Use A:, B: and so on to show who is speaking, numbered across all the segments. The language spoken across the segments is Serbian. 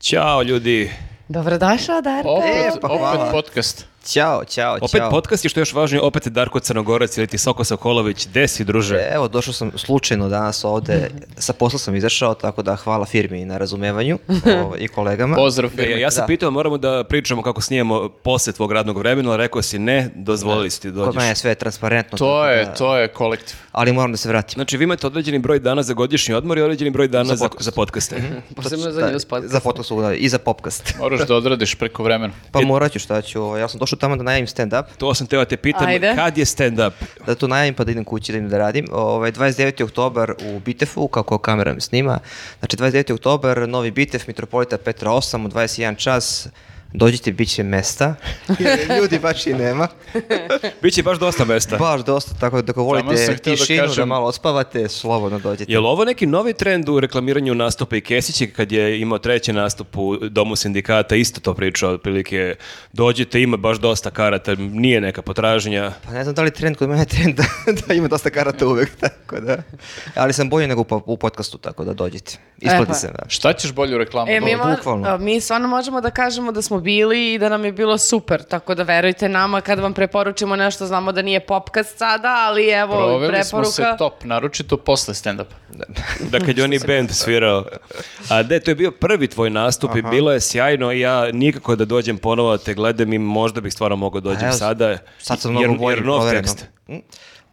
A: Ćao ljudi.
B: Dobrodošao, Darko.
C: Opet,
D: E, pa
C: opet
D: hvala.
C: podcast.
D: Ćao, ćao,
A: Opet
D: Pa ćao.
A: podcast i što je još važnije, opet je Darko Crnogorac ili ti Soko Sokolović. Gde si, druže?
D: E, Evo, došao sam slučajno danas ovde, sa posla sam izašao, tako da hvala firmi na razumevanju ovaj, i kolegama.
C: Pozdrav.
A: E, ja sam
D: da.
A: pitao, moramo da pričamo kako snijemo posle tvog radnog vremena, ali rekao si ne, dozvolili si ti
D: Kod
A: dođeš.
D: mene je sve transparentno.
C: To
D: tako
C: je,
D: da-
C: to je kolektiv.
D: Ali moram da se vratim.
A: Znači, vi imate određeni broj dana za godišnji odmor i određeni broj dana za, za, podcaste.
D: Mhm.
B: Posebno
D: Točno,
B: za
D: da,
B: news podcast.
D: Za podcast, da, i za popkast.
C: Moraš da odradiš preko vremena.
D: Pa morat ću šta ću, ovaj, ja sam došao tamo da najavim stand-up,
A: to sam teo da te pitam,
B: Ajde.
A: kad je stand-up?
D: da to najavim pa da idem kući da idem da radim. Ovaj, 29. oktober u Bitefu, kako kamera mi snima. Znači 29. oktober, novi Bitef, Mitropolita Petra 8 u 21 čas. Dođite, bit će mesta. Ljudi baš i nema.
A: Biće baš dosta mesta.
D: Baš dosta, tako da ako volite
C: sam hteo da
D: tišinu, da,
C: kažem-
D: malo ospavate, slobodno dođete.
A: Je li ovo neki novi trend u reklamiranju nastupa i Kesić je kad je imao treći nastup u Domu sindikata isto to pričao, otprilike dođite, ima baš dosta karata, nije neka potražnja.
D: Pa ne znam da li je trend kod mene je trend da, da ima dosta karata uvek, tako da. Ali sam bolji nego u, po- u podcastu, tako da dođite. Isplati
B: Eho.
D: se, da.
C: Šta ćeš bolju reklamu?
B: E, mi,
C: dobiti?
B: mo-
D: bukvalno.
B: a, mi stvarno možemo da kažemo da smo bili i da nam je bilo super, tako da verujte nama kad vam preporučimo nešto, znamo da nije popkast sada, ali evo
C: Proveli smo
B: preporuka.
C: se top, naročito posle stand-upa.
A: Da kad je oni band svirao. A de, to je bio prvi tvoj nastup i bilo je sjajno i ja nikako da dođem ponovo da te gledam i možda bih stvarno mogao
D: A
A: dođem
D: evo,
A: sada.
D: Sad sam mnogo
A: jer,
D: bolji,
A: jer nov
D: provereno.
A: tekst.
D: Mm.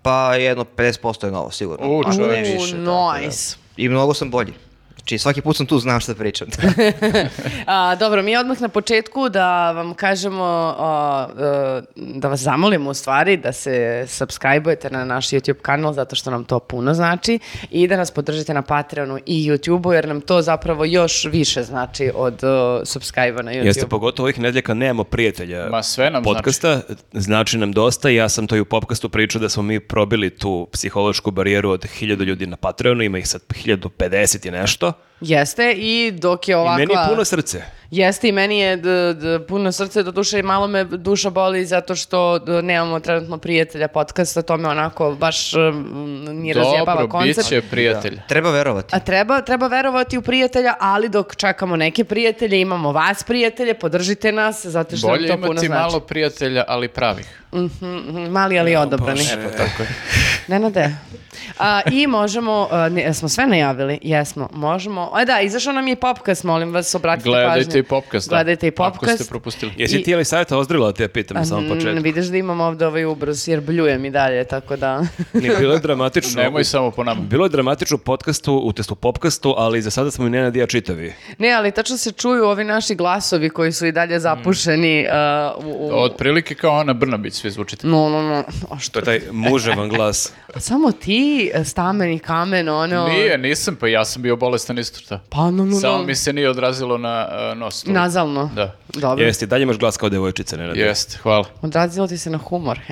D: Pa jedno 50% je novo, sigurno.
C: U,
D: Ako ne
C: čoveče.
D: više,
B: U,
D: tako da.
B: nice.
D: I mnogo sam bolji. Znači svaki put sam tu, znam šta pričam.
B: A, dobro, mi odmah na početku da vam kažemo, a, e, da vas zamolimo u stvari da se subscribe-ujete na naš YouTube kanal zato što nam to puno znači i da nas podržite na Patreonu i YouTubeu jer nam to zapravo još više znači od e, subscribe-a na YouTube.
A: Jeste, pogotovo ovih nedelja kad nemamo prijatelja
C: Ma, sve nam
A: podcasta, znači. nam dosta i ja sam to i u popkastu pričao da smo mi probili tu psihološku barijeru od hiljadu ljudi na Patreonu, ima ih sad 1050 i nešto.
B: Jeste i dok je ovakva...
A: I meni je puno srce.
B: Jeste i meni je d, d, puno srce do duše i malo me duša boli zato što d, nemamo trenutno prijatelja podcasta, to me onako baš mm, ni razjebava
C: Dobro, bit
B: koncert.
C: će prijatelj.
D: Treba verovati.
B: A treba, treba verovati u prijatelja, ali dok čekamo neke prijatelje, imamo vas prijatelje, podržite nas, zato što
C: Bolje
B: nam to puno
C: imati
B: znači.
C: malo prijatelja, ali pravih.
B: Mhm, mhm, mali, ali odobrani.
C: Evo tako je.
B: Nenade. A, I možemo, a, ne, smo sve najavili, jesmo, možemo. A da, izašao nam je i popkast, molim vas, obratite pažnju.
C: Gledajte i popkast. Da.
B: Gledajte i popkast.
C: Ako ste propustili.
A: Jesi
B: I-
A: ti ali savjeta ozdrila te pitam na samom
B: Mm,
A: početku?
B: Vidiš da imam ovde ovaj ubrus jer bljujem i dalje, tako da...
A: Nije bilo je dramatično.
C: Nemoj samo po nama.
A: Bilo je dramatično u podcastu, u testu popkastu, ali za sada smo i Nenad i ja čitavi.
B: ne, ali tačno se čuju ovi naši glasovi koji su i dalje zapušeni
C: Mm.
B: uh, u... u-
C: Otprilike kao Ana Brnabić svi zvučite.
B: No, no, no. A što?
A: To je taj muževan glas.
B: Samo ti, e, stamen i kamen, ono...
C: Nije, nisam, pa ja sam bio bolestan isto šta.
B: Pa, no, no, no.
C: Samo mi se nije odrazilo na uh, nos. toliko.
B: Nazalno.
C: Da.
B: Dobro.
A: Jeste, i dalje imaš glas kao devojčica, Nenad.
C: Jeste, hvala.
B: Odrazilo ti se na humor.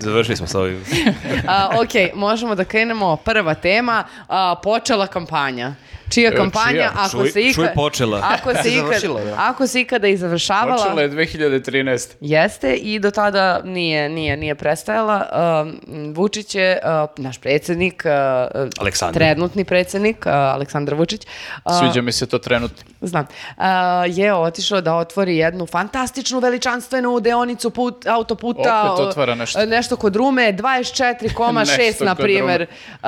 A: Završili smo sa ovim.
B: A, ok, možemo da krenemo. Prva tema, a, počela kampanja. Čija
C: E,
B: kampanja,
C: čija?
B: ako
A: Čuj-
B: se ikad...
A: čuj počela.
B: Ako se,
D: Se
B: ikad,
D: završila, da.
B: ako se ikada i završavala...
C: Počela je 2013.
B: Jeste i do tada nije, nije, nije prestajala. Um, Vučić je uh, naš predsednik, uh,
A: Aleksandar.
B: trenutni predsednik, uh, Aleksandar Vučić, uh,
C: Sviđa mi se to trenutno.
B: znam, uh, je otišao da otvori jednu fantastičnu veličanstvenu deonicu put, autoputa.
C: Opet otvara nešto.
B: uh, Nešto kod Rume, 24,6
C: Nešto
B: na
C: kod
B: primer. Uh,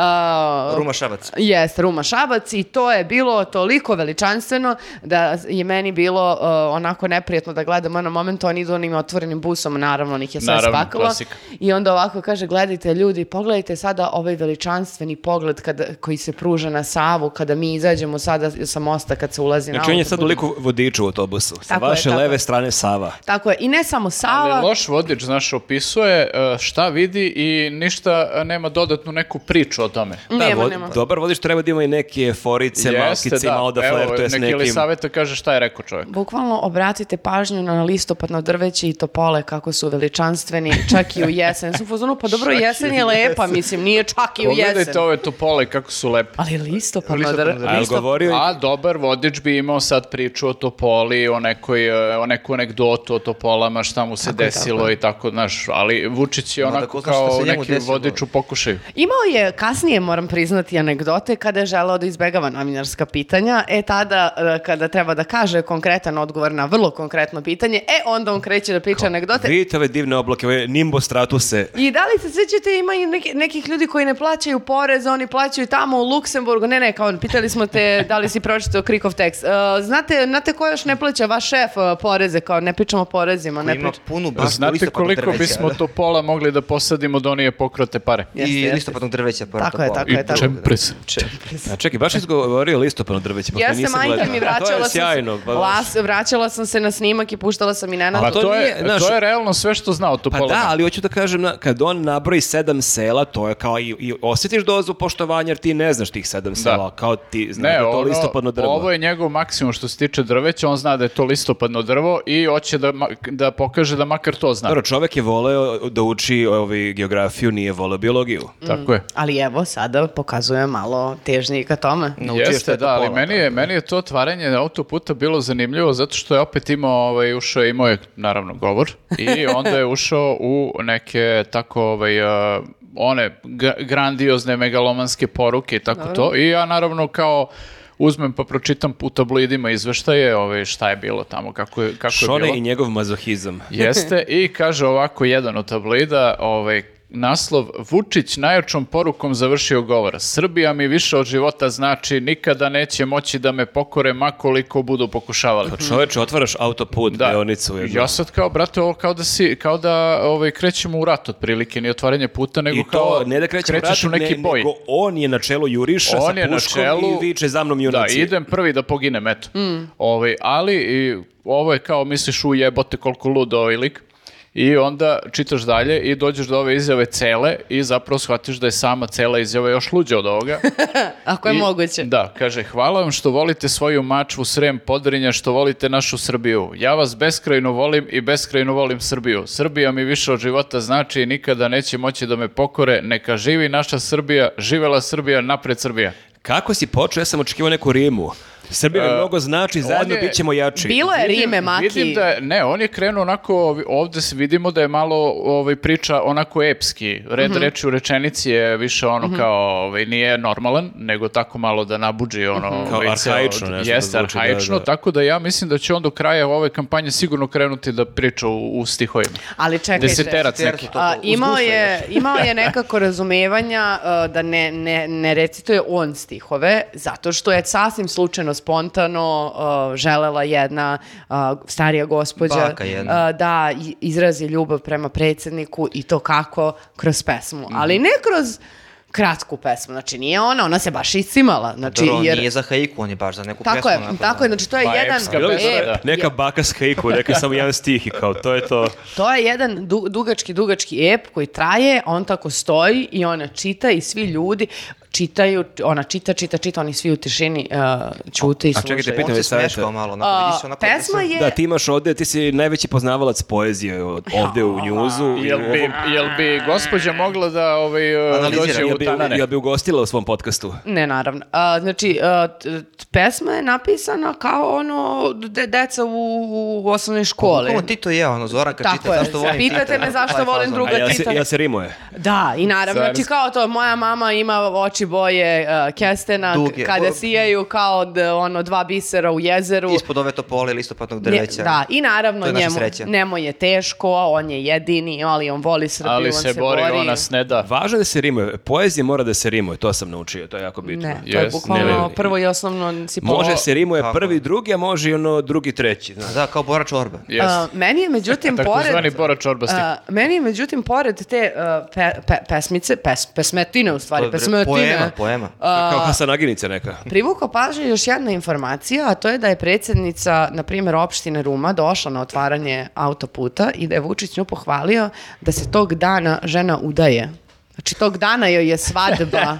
D: Ruma Šabac.
B: Jeste, Ruma Šabac i to je bilo toliko veličanstveno da je meni bilo uh, onako neprijatno da gledam ono moment, oni idu onim otvorenim busom, naravno, onih je sve
C: Naravno,
B: spakalo.
C: klasika.
B: I onda ovako kaže, gledajte ljudi, pogledajte sada ovaj veličanstveni pogled kada, koji se pruža na Savu, kada mi izađemo sada sa mosta, kad se ulazi na
A: Znači, on je sad
B: autoput.
A: toliko vodiču u autobusu. Sa
B: Tako je,
A: vaše
B: tako
A: leve
B: je.
A: strane Sava.
B: Tako je, i ne samo Sava.
C: Ali loš vodič, znaš, opisuje uh, šta vidi i ništa uh, nema dodatnu neku priču o tome.
B: Nema,
A: vo-
B: nema.
A: Dobar vodič treba da ima i neke forice, malkice, malo da flertuje s
C: neki
A: nekim.
C: Elisaveta kaže šta je rekao čovjek.
B: Bukvalno obratite pažnju na listopadno drveće i topole kako su veličanstveni, čak i u jesen. Ja Sam u fazonu, pa dobro,
C: Čak i
B: jesen je
C: u
B: lepa, mislim, nije čak i u
C: Pogledajte
B: jesen.
C: ove topole kako su lepe.
B: Ali listopadno
D: Listopadno
B: drveće.
D: drveće.
A: A jel govorio i-
C: A dobar vodič bi imao sad priču o Topoli, o, nekoj, e, o neku anegdotu o Topolama, šta mu se desilo i tako, znaš, ali Vučić je
D: Ma, da
C: onako
D: ko zna šta
C: kao
D: se njemu
C: neki
D: desilo.
C: vodič u pokušaju.
B: Imao je kasnije, moram priznati, anegdote kada je želeo da izbegava novinarske novinarska pitanja, e tada e, kada treba da kaže konkretan odgovor na vrlo konkretno pitanje, e onda on kreće da priča anegdote.
A: Vidite ove divne oblake, ove nimbo stratuse.
B: I da li se sjećate, ima i neki, nekih ljudi koji ne plaćaju porez, oni plaćaju tamo u Luksemburgu. Ne, ne, kao pitali smo te da li si pročitao Krikov tekst. E, znate, znate ko još ne plaća? Vaš šef e, poreze, kao ne pričamo o porezima, ne
D: Ima
B: pričamo.
D: punu baštu
C: Znate
D: listopadnog
C: koliko
D: drveća,
C: bismo
D: da.
C: to pola mogli da posadimo da oni je pokrate pare?
D: I
B: Jeste, jeste.
D: listopadnog drveća. pored
B: Tako je,
D: topola.
B: tako je, I tako je.
C: čempres.
A: A čekaj, baš izgovorio listopadno drveće, pošto
B: Ja sam
A: pa nisam
B: majke
A: gledao.
B: mi
A: To
B: vraćala
A: je
B: sam,
A: sjajno.
B: se,
A: pa-
B: Las- vraćala sam se na snimak i puštala sam i
A: A
B: Nenadu.
A: Pa to
C: Pa To, je,
A: nije, znaš-
C: to je realno sve što znao to
A: Pa
C: pola.
A: da, ali hoću da kažem, na- kad on nabroji sedam sela, to je kao i, i osjetiš dozu poštovanja, jer ti ne znaš tih sedam sela, kao ti znaš da je to
C: ono,
A: listopadno drvo.
C: ovo je njegov maksimum što se tiče drveća, on zna da je to listopadno drvo i hoće da, ma- da pokaže da makar to zna.
A: Dobro, čovek je voleo da uči ovi, geografiju, nije voleo biologiju.
C: Tako je.
B: Ali evo, sada pokazuje malo težnji ka tome.
D: Naučio šta
C: Jeste,
D: je
C: da, ali
D: topola,
C: meni je, meni je to otvaranje autoputa bilo zanimljivo zato što je opet imao, ovaj, ušao je, imao je, naravno, govor i onda je ušao u neke tako, ovaj, eh, one gra- grandiozne megalomanske poruke i tako to. I ja naravno kao uzmem pa pročitam u tabloidima izveštaje ovaj, šta je bilo tamo, kako je, kako je
A: Šone
C: bilo.
A: i njegov mazohizam.
C: Jeste, i kaže ovako jedan od tablida, ovaj, naslov Vučić najjačom porukom završio govora. Srbija mi više od života znači nikada neće moći da me pokore makoliko budu pokušavali.
A: Pa čoveče, otvaraš autoput,
C: Da.
A: deonicu jednu.
C: Ja sad kao, brate, ovo kao da, si, kao da ovaj, krećemo u rat otprilike, ni otvaranje puta, nego
A: I
C: kao
A: to ne da krećemo
C: krećeš
A: vratom,
C: u neki
A: ne,
C: boj.
A: nego on je na čelu juriša
C: on
A: sa
C: je na
A: puškom
C: čelu
A: i viče za mnom junaci.
C: Da, idem prvi da poginem, eto.
B: Mm.
C: Ovaj, ali i, ovo je kao, misliš, u jebote koliko ludo ovaj lik. I onda čitaš dalje i dođeš do ove izjave cele i zapravo shvatiš da je sama cela izjava još luđa od ovoga.
B: Ako je
C: I-
B: moguće.
C: Da, kaže, hvala vam što volite svoju mačvu Srem Podrinja, što volite našu Srbiju. Ja vas beskrajno volim i beskrajno volim Srbiju. Srbija mi više od života znači i nikada neće moći da me pokore. Neka živi naša Srbija, živela Srbija, napred Srbija.
A: Kako si počeo? Ja sam očekivao neku rimu. Srbija mi mnogo znači, zajedno
C: E, je-
A: bit ćemo jači.
B: Bilo je
C: Vidim-
B: Rime, Maki.
C: Vidim da je, ne, on je krenuo onako, ovi- ovde se vidimo da je malo ovaj, priča onako epski. Red reči u rečenici je više ono kao, ovaj, nije normalan, nego tako malo da nabuđi ono...
A: Kao
C: ovaj, ceo-
A: arhaično nešto
C: Jeste,
A: zvuči, da,
C: arhaično,
A: da.
C: tako da ja mislim da će on do kraja ove kampanje sigurno krenuti da priča u, u stihovima.
B: Ali čekajte.
C: Deseterac
D: Deseterac
C: neki.
D: to-
B: A,
D: uz
B: imao,
D: gufe
B: je, imao je nekako razumevanja a, da ne, ne, ne recituje on stihove, zato što je sasvim slučajno, spontano a, želela jedna a, starija gospođa
D: Baka jedna.
B: a, da i- izrazi ljubav prema predsjedniku i to kako kroz pesmu.
D: Mhm.
B: Ali ne kroz kratku pesmu, znači nije ona, ona se baš iscimala. Znači,
D: Dobro, on
B: jer,
D: nije za haiku, on je baš za neku
B: tako
D: pesmu.
B: je,
D: onako,
B: tako je, znači to je
C: Pa,
B: jedan...
C: epska
A: Bilo bi
C: pesma,
A: sve-
B: e,
C: da.
A: neka baka s hejku, neka samo jedan stih i kao, to je to.
B: To je jedan du- dugački, dugački ep koji traje, on tako stoji i ona čita i svi ljudi čitaju, ona čita, čita, čita, oni svi u tišini uh, ćute i
A: A čekajte,
B: slušaju.
A: pitam-
D: On se
A: Savjeta.
D: smeškao malo, onako,
B: A,
D: vidi se onako...
B: pesma je,
A: Da, ti imaš ovde, ti si najveći poznavalac poezije od- ovde u njuzu.
C: Jel bi, jel bi gospođa mogla da ovaj, eh,
D: Analizira,
C: dođe
D: jel
C: u
A: bi,
C: tanane?
A: jel bi ugostila u svom podcastu?
B: ne naravno, A, znači a, t- t- pesma je napisana kao ono de- deca u, u osnovnoj školi.
D: Kako ti to je, ono, Zoran kad
B: Tako
D: čita,
B: je,
D: zašto volim
B: pitate
D: Tita?
B: me zašto
D: Taj
B: volim
D: fazon.
B: druga-
A: A ja se,
B: čitanje.
A: ja se rimuje.
B: Da, i naravno,
C: Carski.
B: znači kao to, moja mama ima oči boje a, kestena
D: Duge.
B: kada
D: O-
B: sijaju kao od, ono dva bisera u jezeru.
D: Ispod ove topole listopadnog
B: Nje-
D: drveća.
B: da, i naravno
D: To je naša
B: njemu,
D: sreća.
B: njemu je teško, a on je jedini, ali on voli Srbiju,
C: Ali
B: on
C: se bori, ona ne da.
A: Važno je da se rimuje. Poezija mora da se rimuje, to sam naučio, to je jako bitno.
B: Ne, to je
C: Yes.
A: Ne,
B: bukvalno
A: ne, ne.
B: prvo i osnovno si po-
A: Može se rimuje
D: Tako
A: prvi,
D: je.
A: drugi, a može i ono drugi, treći. znaš.
D: Da, kao Bora Čorba.
C: Jeste.
B: A, meni je međutim
C: Takozvani
B: pored...
C: Bora Čorba stih.
B: a, meni je međutim pored te a, pe, pe- pesmice, pes, pesmetine u stvari,
D: To je bre-
B: pesmetine.
D: Pa, poema, poema.
A: Kao Hasanaginica neka.
B: Privukao pažnju još jedna informacija, a to je da je predsjednica, na primjer, opštine Ruma došla na otvaranje autoputa i da je Vučić nju pohvalio da se tog dana žena udaje. Znači, tog dana joj je svadba.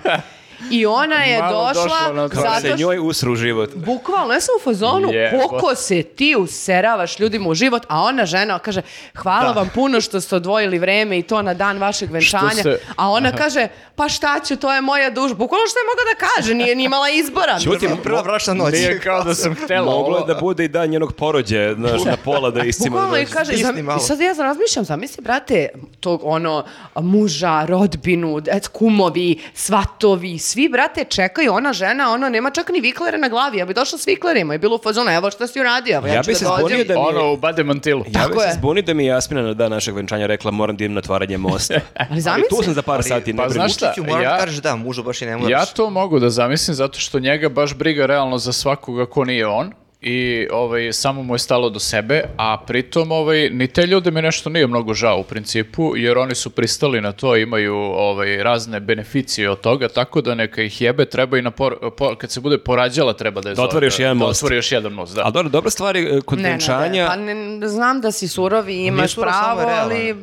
B: I ona je
C: Malo došla na
B: došla
C: otvaranje.
A: Kao
B: zato
A: se
B: što...
A: njoj usru život.
B: Bukvalno, ja sam u fazonu,
C: Jebo.
B: koliko se ti useravaš ljudima u život, a ona žena kaže, hvala vam puno što ste odvojili vreme i to na dan vašeg venčanja,
C: se-
B: a ona kaže, pa šta ću, to je moja dužba. Bukvalno što je mogla da kaže, nije ni imala izbora.
A: Ćuti,
D: Prva vrašna noć.
C: Nije kao da sam htela
A: Moglo je
C: ovo.
A: da bude i dan njenog porođaja, znaš, na pola da iscima.
B: Bukvalno i kaže,
D: stisni
B: zam-
D: malo.
B: i sad ja razmišljam, zamisli, brate, tog ono, muža, rodbinu, et, kumovi, svatovi, svi, brate, čekaju, ona žena, ono, nema čak ni viklere na glavi. Ja bi došla s viklerima i bilo u fazonu, evo šta si uradio, evo, ja,
A: Ja
B: ću
A: bi
B: da
A: se
B: dođem.
A: zbunio da mi-
C: Ono u bademantilu.
A: Ja
B: Tako
A: bih se
B: je.
A: zbunio da mi je Jasmina na dan našeg venčanja rekla moram da idem na otvaranje mosta.
B: Ali zamisli.
A: tu sam za par sati, ne
C: pa
A: brini.
C: znaš šta,
D: Ti moram
C: ja-
D: da kažeš da, mužu baš i ne moraš.
C: Ja to mogu da zamislim zato što njega baš briga realno za svakoga ko nije on i ovaj, samo mu je stalo do sebe, a pritom ovaj, ni te ljude mi nešto nije mnogo žao u principu, jer oni su pristali na to, imaju ovaj, razne beneficije od toga, tako da neka ih jebe, treba i na por- po- kad se bude porađala treba da je
A: Da
C: zove,
A: otvori još jedan
C: da
A: most.
C: otvori još jedan most, da.
A: Ali dobro, dobra stvar je e, kod
B: Ne, ne, ne,
A: venčanja...
B: pa ne, znam da si surovi, imaš
D: surov, samo
B: pravo,
D: je realan.
B: ali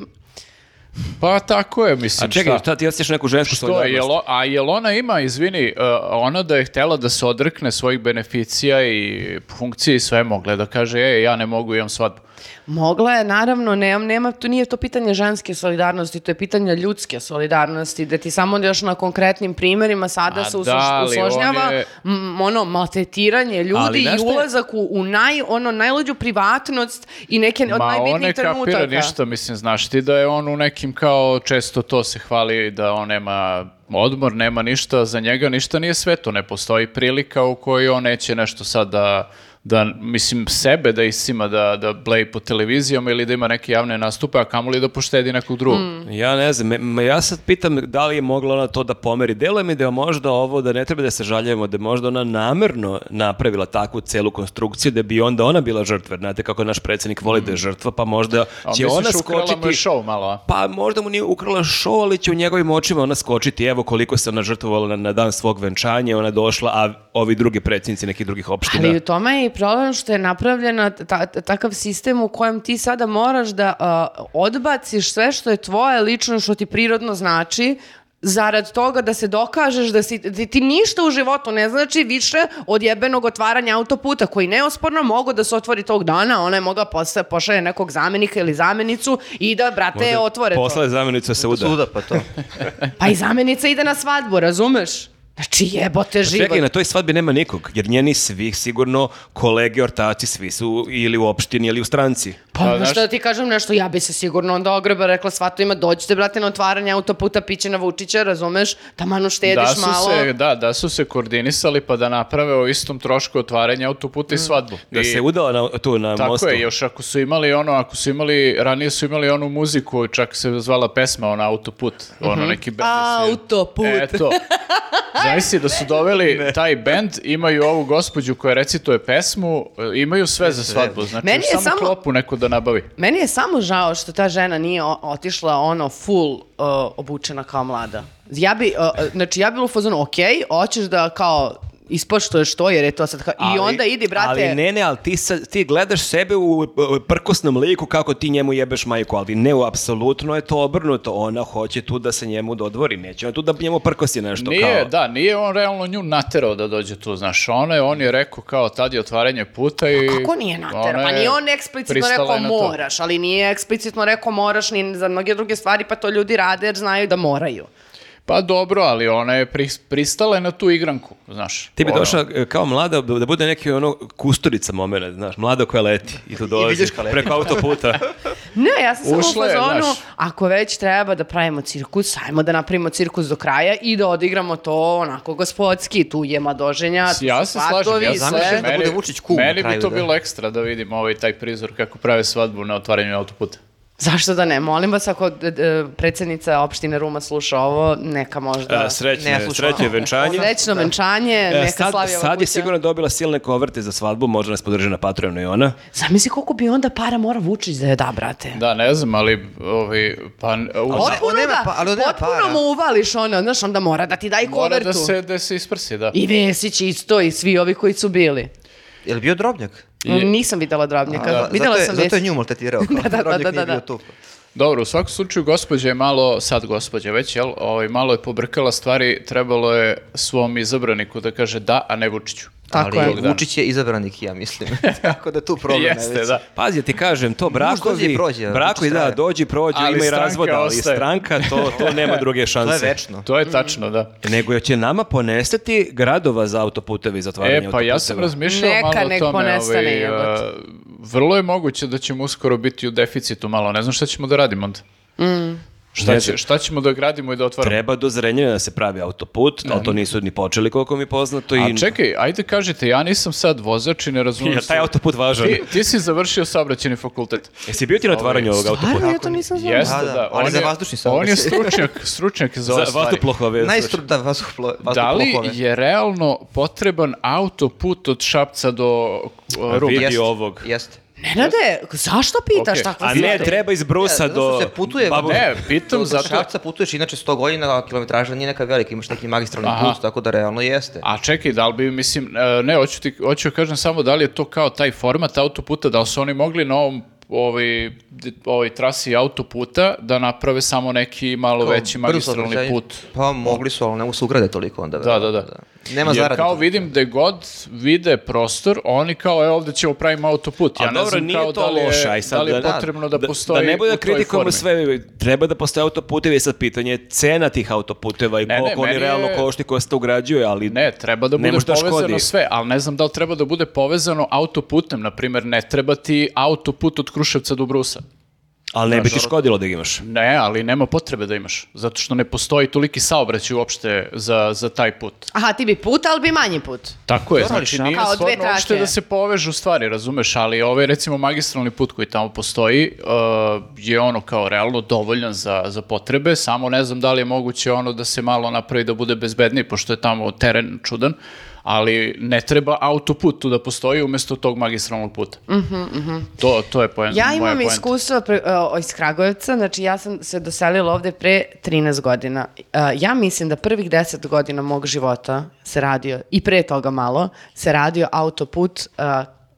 C: Pa tako je, mislim,
A: A čekaj,
C: šta?
A: šta ti osjećaš neku žensku
C: To je,
A: solidarnost?
C: jel, o- a jel ona ima, izvini, uh, ona da je htela da se odrekne svojih beneficija i funkcije i sve mogle, da kaže, e, ja ne mogu, imam svadbu.
B: mogla je, naravno, nema, nema, to nije to pitanje ženske solidarnosti, to je pitanje ljudske solidarnosti, da ti samo još na konkretnim primjerima sada
C: A
B: se
C: da
B: uslož-
C: li, on
B: usložnjava
C: je-
B: m, ono, maltretiranje
A: Ali,
B: ljudi
A: znaš
B: i
A: šta je-
B: ulazak u, u naj, ono, najluđu privatnost i neke od
C: Ma on ne
B: najbitnijih
C: kapira
B: trenutaka.
C: ništa, mislim, znaš ti da je on u nekim kao, često to se hvali da on nema odmor, nema ništa, za njega ništa nije sveto, ne postoji prilika u kojoj on neće nešto sad da, da mislim, sebe da isima, da, da bleji po televizijama ili da ima neke javne nastupe, a kamoli da poštedi nekog drugog.
B: Mm.
A: Ja ne znam, me- ma ja sad pitam da li je mogla ona to da pomeri. Deluje mi da je možda ovo, da ne treba da se žaljujemo, da je možda ona namerno napravila takvu celu konstrukciju da bi onda ona bila žrtva. jer Znate kako naš predsjednik voli da je žrtva, pa možda
C: Mm. A
A: će
C: misliš,
A: ona
C: ukrala mu je
A: skočiti...
C: show malo, a?
A: Pa možda mu nije ukrala šo, ali će u njegovim očima ona skočiti. Evo koliko se ona žrtvovala na, na dan svog venčanja, ona je došla, a ovi drugi predsjednici nekih drugih opština.
B: Ali u tome je i problem što je napravljena ta- ta- takav sistem u kojem ti sada moraš da a, odbaciš sve što je tvoje lično, što ti prirodno znači, zarad toga da se dokažeš da si, ti, ti ništa u životu ne znači više od jebenog otvaranja autoputa koji neosporno mogu da se otvori tog dana, ona je mogla posle, pošalje nekog zamenika ili zamenicu i da, brate, otvore
A: Posla je zamjenica se uda.
D: Suda pa to.
B: to. Pa i zamenica ide na svadbu, razumeš? Znači jebote
A: Pa
B: život.
A: Čekaj, na toj svadbi nema nikog, jer njeni svih sigurno kolege, ortaci, svi su ili u opštini ili u stranci.
B: Pa,
C: Pa,
B: pa
C: znaš-
B: da ti kažem nešto, ja bi se sigurno onda ogreba rekla, sva to ima, dođite brate na otvaranje autoputa, piće na Vučića, razumeš, tamano štediš
C: da su
B: malo.
C: Se, da, da su se koordinisali pa da naprave o istom trošku otvaranja
B: Mm.
C: autoputa i svadbu.
A: Da
C: I
A: se udala na, tu na
C: Tako
A: mostu.
C: je, još ako su imali ono, ako su imali, ranije su imali onu muziku, čak se zvala pesma, ona autoput,
B: Mhm.
C: ono neki bend.
B: Autoput.
C: E, Eto. Zavisi da su doveli taj bend, imaju ovu gospođu koja recituje pesmu, e, imaju sve za svadbu, znači
B: Meni je
C: samo,
B: samo-
C: klopu neko da nabavi.
B: Meni je samo žao što ta žena nije o- otišla ono full uh, obučena kao mlada. Ja bi, uh, uh, znači ja bi u fazonu, ok, hoćeš da kao ispoštuješ to jer je to sad kao, i onda idi brate.
A: Ali ne, ne, ali ti, sad- ti gledaš sebe u, u prkosnom liku kako ti njemu jebeš majku, ali ne, u apsolutno je to obrnuto. Ona hoće tu da se njemu dodvori, neće ona tu da njemu prkosi nešto.
C: Nije,
A: kao,
C: da, nije on realno nju naterao da dođe tu, znaš, ona je, on je rekao kao tad je otvaranje puta i...
B: Kako nije
C: ona
B: natera? Pa
C: je
B: nije on eksplicitno
C: pristala
B: rekao
C: je na to.
B: moraš, ali nije eksplicitno rekao moraš ni za mnoge druge stvari, pa to ljudi rade jer znaju da moraju.
C: Pa dobro, ali ona je pris- pristala je na tu igranku, znaš.
A: Ti bi
C: Ono,
A: došla e, kao mlada, da da bude neki ono kusturica moment, znaš, mlada koja leti i tu dolazi
D: vidiš kao leti.
A: preko autoputa.
B: Ne, ja sam samo
C: Ušla
B: u
C: je,
B: fazonu,
C: znaš.
B: ako već treba da pravimo cirkus, ajmo da napravimo cirkus do kraja i da odigramo to onako gospodski, tu je madoženja, tu
C: Ja e.
B: su
C: se slažem,
B: svatovi,
C: ja
B: sve.
D: zamišljam
C: slažem.
D: da bude Vučić kum na
C: meni bi
D: kraju,
C: to
D: da.
C: bilo ekstra da vidim ovaj taj prizor kako prave svadbu na otvaranju autoputa.
B: Zašto da ne? Molim vas, ako d- d- predsjednica opštine Ruma sluša ovo, neka možda...
A: E, Srećno,
D: Ne,
A: je-
D: slušam.
A: srećno je venčanje.
B: Srećno venčanje,
A: E,
B: ono, neka
A: sad,
B: slavi ova
A: sad je
B: kuća.
A: sigurno dobila silne koverte za svadbu, može nas podrži na Patreonu i ona.
B: Zamisli koliko bi onda para mora Vučić da je da, brate.
C: Da, ne znam, ali ovi, pa, u-
D: Ona-
B: Potpuno,
D: on nema
B: da,
D: pa- ali on nema
B: potpuno
D: para.
B: mu uvališ ono, znaš, onda mora da ti da i
C: mora
B: kovertu.
C: da se, da se isprsi, da.
B: I Vesić isto i svi ovi koji su bili.
D: Je li bio drobnjak?
C: I-
B: Nisam videla Drobnjaka.
D: A,
B: videla
D: zato je,
B: sam
D: Zato je
B: Vesića.
D: nju maltretirao. Kao,
B: Da, da, da,
D: drobnjak
B: da,
D: nije
B: da.
D: bio tu.
C: Dobro, u svakom slučaju gospođa je malo, sad gospođa već, jel, ovaj, malo je pobrkala stvari, trebalo je svom izabraniku da kaže da, a ne Vučiću.
B: Tako
D: Ali
B: je.
C: Bogdan.
D: Vučić je izabranik, ja mislim. Tako da tu problem je
C: Jeste,
D: već.
C: da.
A: Pazi, ti kažem, to brakovi,
D: dođe i prođe,
A: brakovi,
D: znači,
A: da,
D: traje.
A: dođi, prođe,
C: Ali
A: ima i
C: stranka
A: razvoda, ali
C: ostaje.
A: stranka, to, to nema druge
D: To
A: šanse.
D: je večno.
C: To je tačno, da.
A: Nego će nama ponestati gradova za autoputevi, za otvaranje
C: E, pa ja sam
A: autoputeva.
C: razmišljao
B: Neka,
C: malo o
B: nek
C: tome.
B: ponestane,
C: Ovaj,
B: jebote.
C: a,
B: Mm.
C: vrlo je moguće da ćemo uskoro biti u deficitu malo. Ne znam šta ćemo da radimo onda. Šta,
A: Ne
C: će,
A: znam.
C: šta ćemo da gradimo i da otvaramo?
A: Treba do Zrenjanina da se pravi autoput, ali to nisu ni počeli koliko mi je poznato. I...
C: A čekaj, ajde kažite, ja nisam sad vozač i ne razumijem.
A: Jer taj autoput važan.
C: Ti, Ovaj, ti si završio saobraćeni fakultet.
A: Jesi bio ti na otvaranju ovog autoputa?
B: Stvarno, ja to nisam znala.
C: Jeste, da.
D: Da, da, ali
C: on
D: za
C: je-
D: vazdušni
C: On je
D: saobraćaj.
C: stručnjak, stručnjak za ove
A: Za
C: stvari.
A: vatuplохove.
D: Najstru, da, vazduhoplo-
C: Da li
D: vazduhoplove.
C: je realno potreban autoput od Šapca do uh, Rume?
A: Vidi
D: Jeste,
A: ovog.
D: Jeste.
B: Nenade, zašto pitaš
C: Okej.
B: takve
A: A
B: stvari?
A: ne, treba iz Brusa
D: Ne, zato što
A: do...
D: se putuje-
A: Babu-
C: Ne, pitam
D: Od
C: zato...
D: Šapca putuješ inače 100 godina, a kilometraža nije neka velika, imaš neki magistralni
C: Aha.
D: put, tako da realno jeste.
C: A čekaj, da li bi, mislim, e, ne, hoću ti, hoću da kažem samo da li je to kao taj format autoputa, da li su oni mogli na ovom ovaj, d- ovoj trasi autoputa da naprave samo neki malo
D: Kao
C: veći
D: brzo
C: magistralni
D: saobraćaj.
C: put.
D: Pa mogli su, ali ne mogu se ugrade toliko onda.
C: Da, da, da.
D: Nema
C: Jer
D: zarade.
C: kao
D: tu.
C: vidim da god vide prostor, oni kao, e, ovde ćemo pravimo autoput.
A: A
C: Ja ne
A: dobro,
C: znam
A: nije
C: kao
A: to
C: da li je,
A: loše, aj sad
C: da li je
A: da-
C: potrebno da, postoji
A: da ne bude
C: u
A: da
C: toj
A: kritikujemo
C: formi.
A: sve, treba da postoje autoputevi, sad pitanje je cena tih autoputeva i
C: Ne, ne,
A: koliko
C: meni
A: oni
C: je-
A: realno košti koja se to ugrađuje, ali
C: Ne, treba da
A: Ne
C: bude
A: može da
C: povezano
A: škodi.
C: sve, ali ne znam da li treba da bude povezano autoputem, na primjer, ne treba ti autoput od Kruševca do Brusa.
A: ali ne bi ti škodilo da ga imaš.
C: Ne, ali nema potrebe da imaš, zato što ne postoji toliki saobraćaj uopšte za, za taj put.
B: Aha, ti bi put, ali bi manji put.
C: Tako je,
D: Dobro, ali
C: znači
D: šta?
C: nije
B: Kao dve
C: stvarno uopšte
B: trake.
C: da se povežu stvari, razumeš, ali ovaj recimo magistralni put koji tamo postoji uh, je ono kao realno dovoljan za, za potrebe, samo ne znam da li je moguće ono da se malo napravi da bude bezbedniji, pošto je tamo teren čudan, ali ne treba autoput tu da postoji umjesto tog magistralnog puta. to, to je poen,
B: Mhm, Ja
C: moja
B: imam
C: poenta.
B: iskustva pre- e, o, iz Kragujevca, znači ja sam se doselila ovde pre 13 godina. E, Ja mislim da prvih 10 godina mog života se radio, i pre toga malo, se radio autoput e,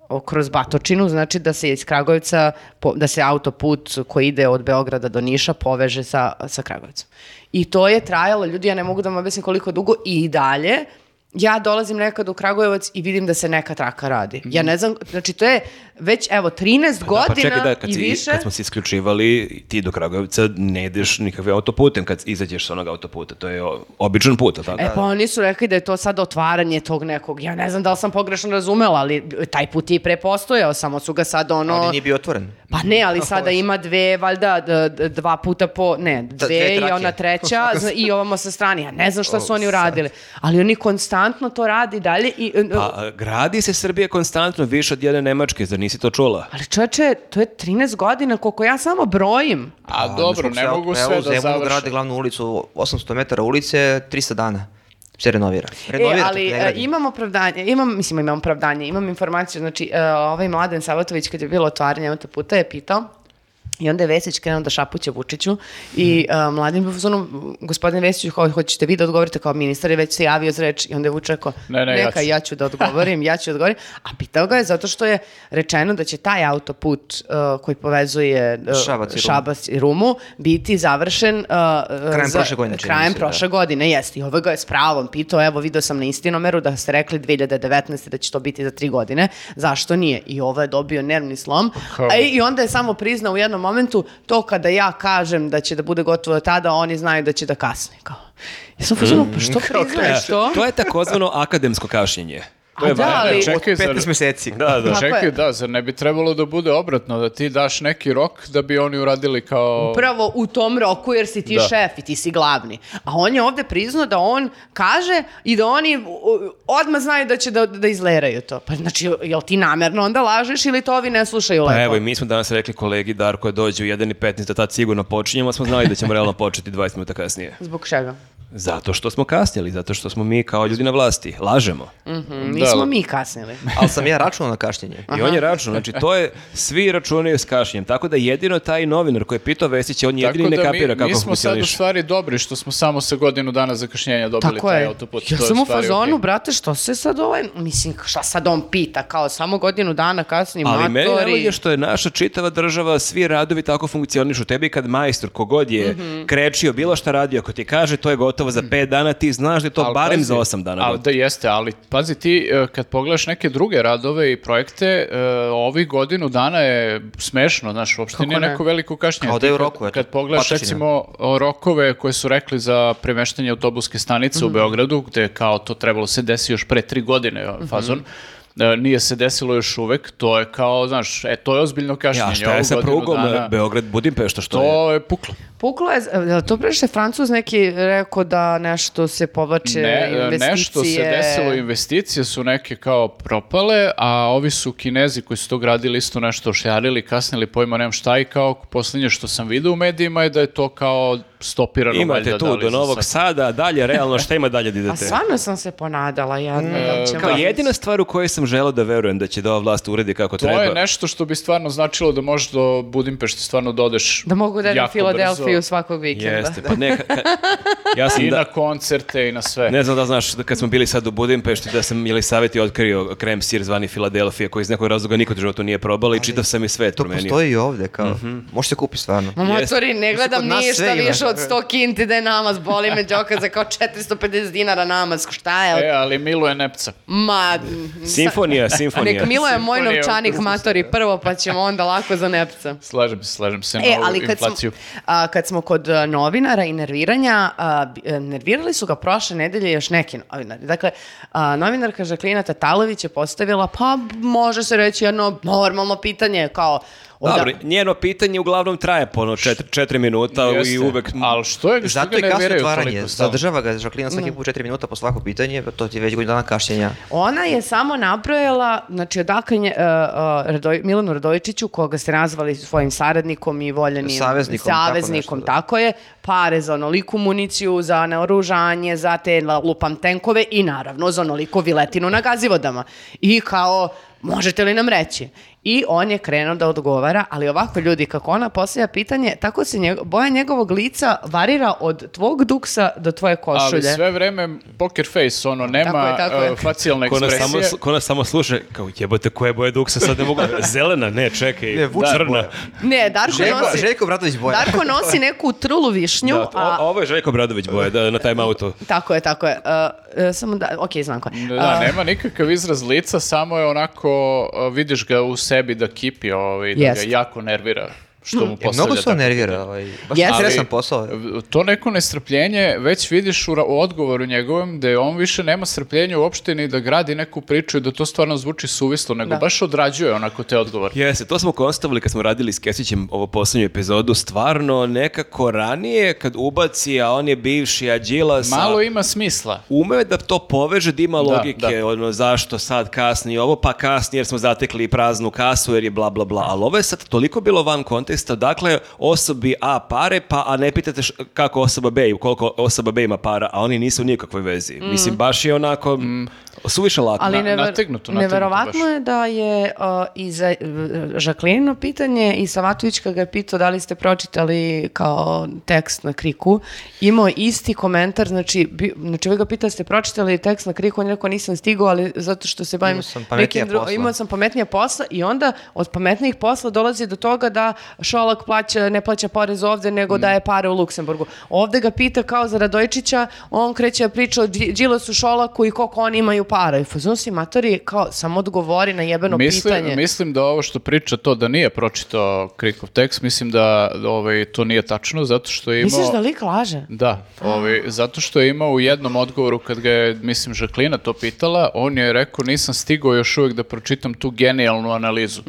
B: o- kroz Batočinu, znači da se iz Kragujevca, po- da se autoput koji ide od Beograda do Niša poveže sa, sa Kragujevcem. I to je trajalo, ljudi, ja ne mogu da vam objasnim koliko dugo i dalje, ja dolazim nekad u Kragujevac i vidim da se neka traka radi. Ja
C: Mhm.
B: ne znam, znači to je već evo 13
A: Da, pa
B: godina
A: čekaj, da, kad,
B: i
A: si-
B: više.
A: kad smo se isključivali, ti do Kragujevca ne ideš nikakvim autoputem kad izađeš s onog autoputa. To je o- običan put, a tako?
B: E pa oni su rekli da je to sad otvaranje tog nekog, ja ne znam da li sam pogrešno razumela, ali taj put je i pre postojao, samo su ga sad ono...
D: Ali nije bio otvoren.
B: Pa ne, ali sada ima dve, valjda, d- d- dva puta po, ne,
D: Da,
B: dve,
D: dve
B: i
D: trake.
B: ona treća zna- i ovamo sa strane. Ja ne znam šta
A: Oh,
B: su oni uradili, ali oni konstantno to radi dalje i...
A: Pa, a, gradi se Srbija konstantno više od jedne Nemačke, zar nisi to čula?
B: Ali čoveče, to je 13 godina koliko ja samo brojim.
C: A, dobro, ne mogu sve da
D: Pa, Evo,
C: završe.
D: grade glavnu ulicu, 800 metara ulice, 300 dana se renovira. Renovira,
B: E,
D: to
B: ali
D: ne
B: e,
D: gradi.
B: imam opravdanje, imam, mislim imam opravdanje, imam informaciju, znači e, ovaj Mladen Savatović kad je bilo otvaranje autoputa je pitao I onda je Vesić krenuo da šapuće Vučiću i
D: Mhm.
B: e, mladim profesorom, gospodin Vesić, kao, hoćete vi da odgovorite kao ministar, je već se javio za reč i onda je Vučić rekao,
C: Ne, ne, ja
B: neka
C: ću."
B: ja ću da odgovorim, ja ću da odgovorim. A pitao ga je zato što je rečeno da će taj autoput e, koji povezuje e,
D: Šabac i Rumu.
B: Šabac i Rumu biti završen e, e,
D: Krajem
B: za-
D: prošle godine, čini mi
B: Krajem
D: se, da.
B: prošle godine, jeste. I ovaj ga je s pravom pitao, evo video sam na istinomeru da ste rekli 2019. da će to biti za tri godine, zašto nije? I ovo je dobio nervni slom.
C: Kao-
B: A, I onda je samo priznao u jednom momentu to kada ja kažem da će da bude gotovo tada, oni znaju da će da kasne. Kao. Ja sam pozvano, pa što priznaješ to?
A: To je takozvano akademsko kašnjenje. To
B: A
A: je
B: da,
A: važno.
B: ali...
C: čekaj,
D: Od 15
C: zar-
D: meseci.
A: Da, da.
B: Tako
C: Čekaj,
B: je.
C: da, zar ne bi trebalo da bude obratno, da ti daš neki rok da bi oni uradili kao...
B: Upravo u tom roku jer si ti
C: Da.
B: šef i ti si glavni. A on je ovde priznao da on kaže i da oni u- u- odmah znaju da će da, da izleraju to. Pa znači, jel ti namerno onda lažeš ili to ovi ne slušaju lepo?
A: Pa evo, i mi smo danas rekli kolegi Darko je dođe u 1.15, da tad sigurno počinjemo, a smo znali da ćemo realno početi 20 minuta kasnije.
B: Zbog čega?
A: Zato što smo kasnili, zato što smo mi kao ljudi na vlasti, lažemo.
B: Nismo mi kasnili.
D: Ali sam ja računao na kašnjenje.
A: I on je račun, znači to je, svi računaju s kašnjem, tako da jedino taj novinar koji je pitao Vesića, on jedini ne kapira
C: mi,
A: kako
C: mi smo sad u
A: funkcioniš.
C: stvari dobri što smo samo sa godinu dana zakašnjenja dobili
B: Tako
C: taj
B: je.
C: autoput.
B: Ja
C: to je
B: sam u
C: stvari
B: fazonu,
C: okej.
B: brate, što se sad ovaj... Mislim, šta sad on pita, kao samo godinu dana kasnije,
A: Ali meni
B: matori.
A: je što je naša čitava država, svi radovi tako funkcionišu. Tebi kad majstor, kogod je
C: Mhm.
A: krečio, bilo šta radio, ako ti kaže to je gotovo za 5 dana, ti znaš da je to
C: Ali
A: Pa barem
C: pazi,
A: za 8 dana.
C: ali
A: gotovo.
C: da jeste, ali pazi ti e, kad pogledaš neke druge radove i projekte, e, ovih godinu dana je smešno, znaš, uopšte
B: Kako
C: nije
B: ne?
C: neko veliko kašnjenje.
D: Kao da
C: Ti
D: je u
C: kad-
D: roku, eto,
C: Kad pogledaš
D: patačina.
C: recimo o, rokove koje su rekli za
B: Mhm. Mhm.
C: premeštanje autobuske stanice u Beogradu, gde kao to trebalo se desi još pre tri godine e, fazon, e, nije se desilo još uvek, to je kao, znaš, e, to je ozbiljno kašnjenje.
A: Ja, šta je
C: Ovu
A: sa
C: godinu
A: prugom
C: dana-
A: Beograd-Budimpešta? Što je?
C: To je puklo.
B: Puklo je, je li to previše Francuz neki rekao da nešto se povlače
C: Ne, e,
B: investicije?
C: nešto se desilo, investicije su neke kao propale, a ovi su kinezi koji su to gradili isto nešto ošjarili, kasnili, pojma nemam šta i kao posljednje što sam vidio u medijima je da je to kao stopirano.
A: Imate
C: valjda, da
A: tu
C: li
A: do
C: za
A: Novog
C: sad.
A: Sada, dalje, realno, šta ima dalje da idete?
B: A stvarno sam se ponadala, jadno.
C: E,
B: da ćemo-
A: Kao jedina stvar u kojoj sam želeo da verujem da će da ova vlast uredi kako
C: To
A: treba.
C: je nešto što bi stvarno značilo da možeš do Budimpešte stvarno dodeš
B: Da mogu da idem u
C: jako
B: Filadelfiju
C: brzo.
B: svakog vikenda.
A: Jeste, pa ne, ka- ka- ja sam
C: I
A: da,
C: na koncerte i na sve.
A: ne znam da znaš, da kad smo bili sad u Budimpešti, da sam Jelisaveti otkrio krem sir zvani Filadelfija, koji iz nekog razloga nikad u životu nije probala i čitav sam i svet
D: To
A: promenio.
D: postoji i ovde, kao.
C: Mhm.
D: Može se kupiti stvarno.
B: Ma motori, ne gledam
D: kod nas
B: ništa
D: sve ima.
B: više od 100 kinti da je namaz, boli me džoka za kao 450 dinara namaz, šta je?
C: E, ali Miluje Nepca.
B: Ma,
A: Simfonija, simfonija.
B: nek Milo je moj
C: Simfonija
B: novčanik matori prvo, pa ćemo onda lako za nepca.
C: Slažem se, slažem se na
B: E,
C: ovu
B: ali kad smo,
C: inflaciju.
B: a, kad smo kod a, novinara i nerviranja, a, bi- e, nervirali su ga prošle nedelje još neki novinari. Dakle, a, novinarka Žaklina Tatalović je postavila, pa može se reći jedno normalno pitanje, kao... oda-
A: Dobro, njeno pitanje uglavnom traje po ono četiri, četiri minuta i
C: Jeste.
A: uvek...
C: Ali što je, što
D: Zato
C: ga
D: je kasno
C: nerviraju
D: otvaranje.
C: toliko stalno?
D: Zadržava ga Žaklina svaki put 4 minuta po svako pitanje, to ti je već godinu dana kašnjenja.
B: Ona je samo nabrojala, znači odakle nje, e, e, Radoj- Milanu Radojičiću, koga ste nazvali svojim saradnikom i voljenim
D: Saveznikom, tako
B: saveznikom,
D: nešto, da.
B: tako je, pare za onoliku municiju, za naoružanje, za te la- lupam tenkove i naravno za onoliku viletinu na gazivodama. I kao, možete li nam reći? I on je krenuo da odgovara, ali ovako ljudi, kako ona postavlja pitanje, tako se njego- boja njegovog lica varira od tvog duksa do tvoje košulje.
C: Ali sve vreme poker face, ono, nema
B: Pa Tako je, tako je.
C: uh, facijalne
A: Ko nas,
C: ekspresije.
A: samo, ko nas samo sluša, kao jebote, koje boje duksa, sad ne mogu, zelena, ne, čekaj,
D: Ne, vučna
A: crna.
D: boja.
B: Ne, Darko
D: Željko,
B: nosi...
D: Željko Bratović Boja.
B: Darko nosi neku trulu višnju,
A: Da,
B: a...
A: o- ovo je Željko Bradović boje, da, na time auto.
B: Tako je, tako je. Uh, uh, samo da, ok, znam ko je.
C: Da,
B: Uh,
C: nema nikakav izraz lica, samo je onako, uh, vidiš ga u sebi da kipi ovaj, da
B: Jest.
C: ga jako nervira što mu
D: E,
C: postavlja.
D: Mnogo se
C: tako.
D: on nervira. Ovaj. Baš
B: Jeste.
D: interesan
C: Ali,
D: posao.
C: v- To neko nestrpljenje već vidiš u, ra- u odgovoru njegovom da je on više nema strpljenja uopšte ni da gradi neku priču i da to stvarno zvuči suvislo, nego
B: Da.
C: baš odrađuje onako te odgovore.
A: Jeste, to smo konstatovali kad smo radili s Kesićem ovo poslednju epizodu, stvarno nekako ranije kad ubaci, a on je bivši, a Đilas, a-
C: Malo ima smisla.
A: umeo da to poveže, da ima logike,
C: da.
A: ono zašto sad kasni ovo, pa kasni jer smo zatekli praznu kasu jer je bla bla bla, ali ovo je sad toliko bilo van konteksta, dakle osobi A pare, pa a ne pitate š- kako osoba B i koliko osoba B ima para, a oni nisu u nikakvoj vezi. Mislim, baš je onako suviše lako.
B: ali
C: na-
B: never,
C: nategnuto, nategnuto
B: neverovatno
C: baš.
B: je da je uh, i za uh, Žaklinino pitanje i Savatovićka ga je pitao da li ste pročitali kao tekst na kriku. Imao je isti komentar, znači, bi, znači ovaj ga pita ste pročitali tekst na kriku, on je rekao nisam stigao, ali zato što se bavim
D: Imao sam pametnija
B: nekim dru-
D: posla.
B: Imao sam pametnija posla i onda od pametnijih posla dolazi do toga da Šolak plaća, ne plaća porez ovde,
C: Mm.
B: nego daje pare u Luksemburgu. Ovde ga pita kao za Radojčića, on kreće priča o Đi- Đilasu Šolaku i koliko oni imaju para. I fazon si matori, kao, samo odgovori na jebeno
C: mislim,
B: pitanje.
C: Mislim da ovo što priča to da nije pročitao Krikov tekst, mislim da ovaj, to nije tačno, zato što je imao...
B: Misliš da lik laže?
C: Da, ovaj, zato što je imao u jednom odgovoru kad ga je, mislim, Žaklina to pitala, on je rekao nisam stigao još uvijek da pročitam tu genijalnu analizu.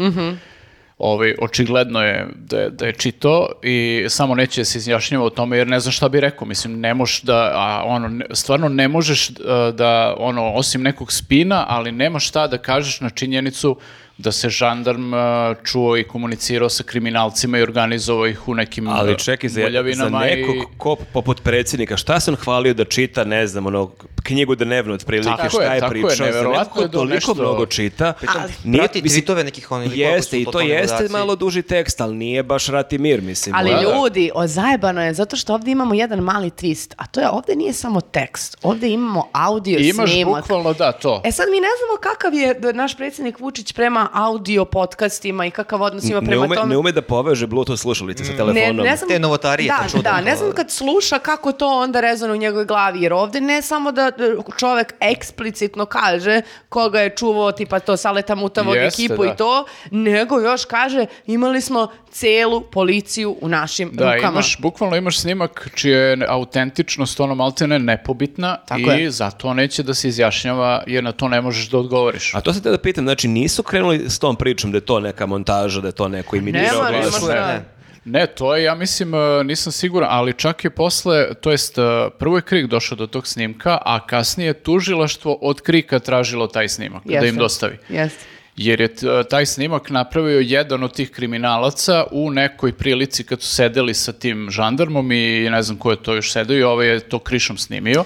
C: Ovaj, očigledno je da, je da je čitao i samo neće da se izjašnjava o tome jer ne zna šta bi rekao. Mislim, ne možeš da, a, ono, ne- stvarno ne možeš a, da, ono, osim nekog spina, ali nema šta da kažeš na činjenicu da se žandarm a, čuo i komunicirao sa kriminalcima i organizovao ih u nekim a,
A: Ali čekaj, za, za
C: muljavinama i-
A: nekog ko poput predsjednika, šta sam hvalio da čita, ne znam, ono, knjigu dnevno otprilike,
C: Tako je,
A: šta je,
C: tako je,
A: pričao, za
C: nevjerovatno
A: nekog ko
C: je da
A: toliko
C: nešto-
A: mnogo čita.
B: Pa,
D: Pritom,
A: nije-
D: prati
A: mislim,
D: tweetove nekih onih likova koji su
A: Jeste, i to
D: totalni
A: jeste
D: ludaci.
A: malo duži tekst, ali nije baš rati mir, mislim. ono.
B: Ali
C: Da, da.
B: ljudi, o, zajebano je, zato što ovdje imamo jedan mali twist, a to je ovdje nije samo tekst, ovdje imamo audio
C: I imaš
B: snimak.
C: bukvalno da to.
B: E sad mi ne znamo kakav je d- naš predsjednik Vučić prema audio podcastima i kakav odnos ima
A: ne
B: prema
A: ume,
B: tome.
A: ne ume da poveže Bluetooth slušalice sa
B: Ne,
A: telefonom.
B: ne znam,
D: Te novotarije,
B: da,
D: to čudno.
B: da, ne znam kad sluša kako to onda rezone u njegovoj glavi, jer ovdje ne samo da d- čovek eksplicitno kaže koga je čuvao, tipa to Saleta Mutavog
C: Jeste,
B: ekipu
C: da.
B: i to, nego još kaže imali smo celu policiju u našim
C: Da,
B: rukama.
C: imaš, bukvalno imaš snimak čija je autentičnost ono maltene nepobitna i
B: Tako je.
C: zato neće da se izjašnjava jer na to ne možeš da odgovoriš.
A: A to se te da pitam, znači nisu krenuli s tom pričom da je to neka montaža, da je to neko imitirao
B: Nema, nema
A: glas.
B: šta.
D: Ne.
C: Ne, to je, ja mislim, e, nisam siguran, ali čak je posle, to jest, e, prvo je Krik došao do tog snimka, a kasnije je tužilaštvo od Krika tražilo taj snimak, da im
B: Jeste.
C: dostavi.
B: Jeste.
C: Jer je t- e, taj snimak napravio jedan od tih kriminalaca u nekoj prilici kad su sedeli sa tim žandarmom i ne znam ko je to još sedeo i ovaj je to krišom snimio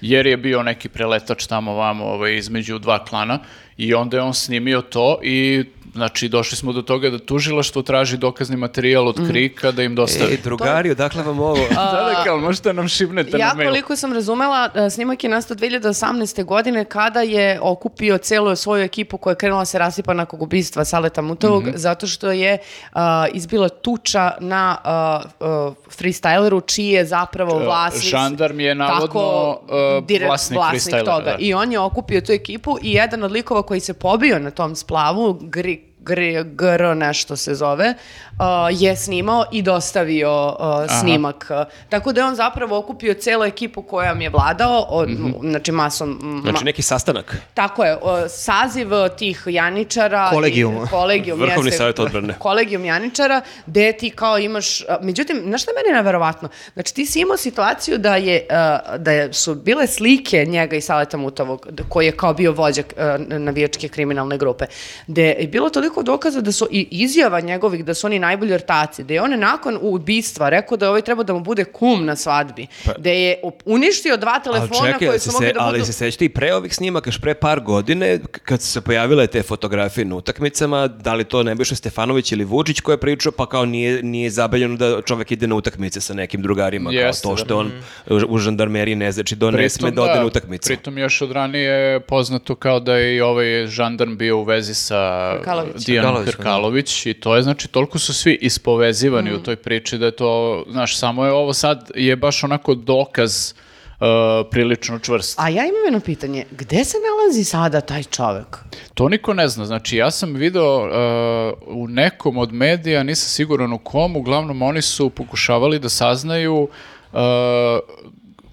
C: jer je bio neki preletač tamo vamo ovaj, između dva klana i onda je on snimio to i znači došli smo do toga da tužilaštvo traži dokazni materijal
B: Mm.
C: od krika da im dostavi.
A: Ej, drugari, odakle vam ovo?
C: da, da, kao, možete nam šibnete
B: Ja
C: na mail.
B: koliko sam razumela, e, snimak je nastao 2018. godine kada je okupio celu svoju ekipu koja je krenula se rasipa nakon ubistva Saleta Mutovog,
C: Mhm.
B: zato što je a, izbila tuča na a, a, freestyleru čiji je zapravo
C: E,
B: vlasnik.
C: žandarm je navodno, e,
B: direkt
C: vlasnik freestylera, da.
B: I on je okupio tu ekipu i jedan od likova koji se pobio na tom splavu, Gri, Gri, Gr nešto se zove, a, je snimao i dostavio a, snimak. Tako da je on zapravo okupio celu ekipu kojom je vladao, od, znači masom... m,
A: Znači
B: ma-
A: neki sastanak.
B: Tako je, o, saziv e, tih janičara... i-
D: Kolegijum.
B: kolegijum,
A: Vrhovni
B: jeste.
A: savjet odbrane.
B: Kolegijum janičara, gde ti kao imaš... a, Međutim, znaš šta je meni neverovatno? Znači, ti si imao situaciju da, je, e, da je, su bile slike njega i Saleta Mutovog, d- koji je kao bio vođak e, navijačke kriminalne grupe, gde je bilo toliko dokaza da su i izjava njegovih da su oni najbolji ortaci, da je on nakon ubistva rekao da je ovaj trebao da mu bude kum na svadbi,
A: Pa-
B: da je op- uništio dva telefona koji su
A: se,
B: mogli
A: se-
B: da budu...
A: ali se sećate i pre ovih snimaka, još pre par godine, k- kad su se pojavile te fotografije na utakmicama, da li to ne biše Stefanović ili Vučić koji je pričao, pa kao nije, nije zabeljeno da čovek ide na utakmice sa nekim drugarima,
C: Jeste,
A: kao to
C: da. Mhm.
A: što je on u- u žandarmeriji ne znači da on ne sme da ode na utakmicu.
C: Pritom još od ranije je poznato kao da je i ovaj žandarm bio u vezi sa
B: Hrkalović.
C: Dijanom
D: Hrkalović, da.
C: Hrkalović i to je znači toliko su svi ispovezivani u toj priči da je to, znaš, samo je ovo sad je baš onako dokaz uh, prilično čvrst.
B: A ja imam jedno pitanje, gde se nalazi sada taj čovek?
C: To niko ne zna. Znači, ja sam video uh, u nekom od medija, nisam siguran u kom, uglavnom oni su pokušavali da saznaju uh,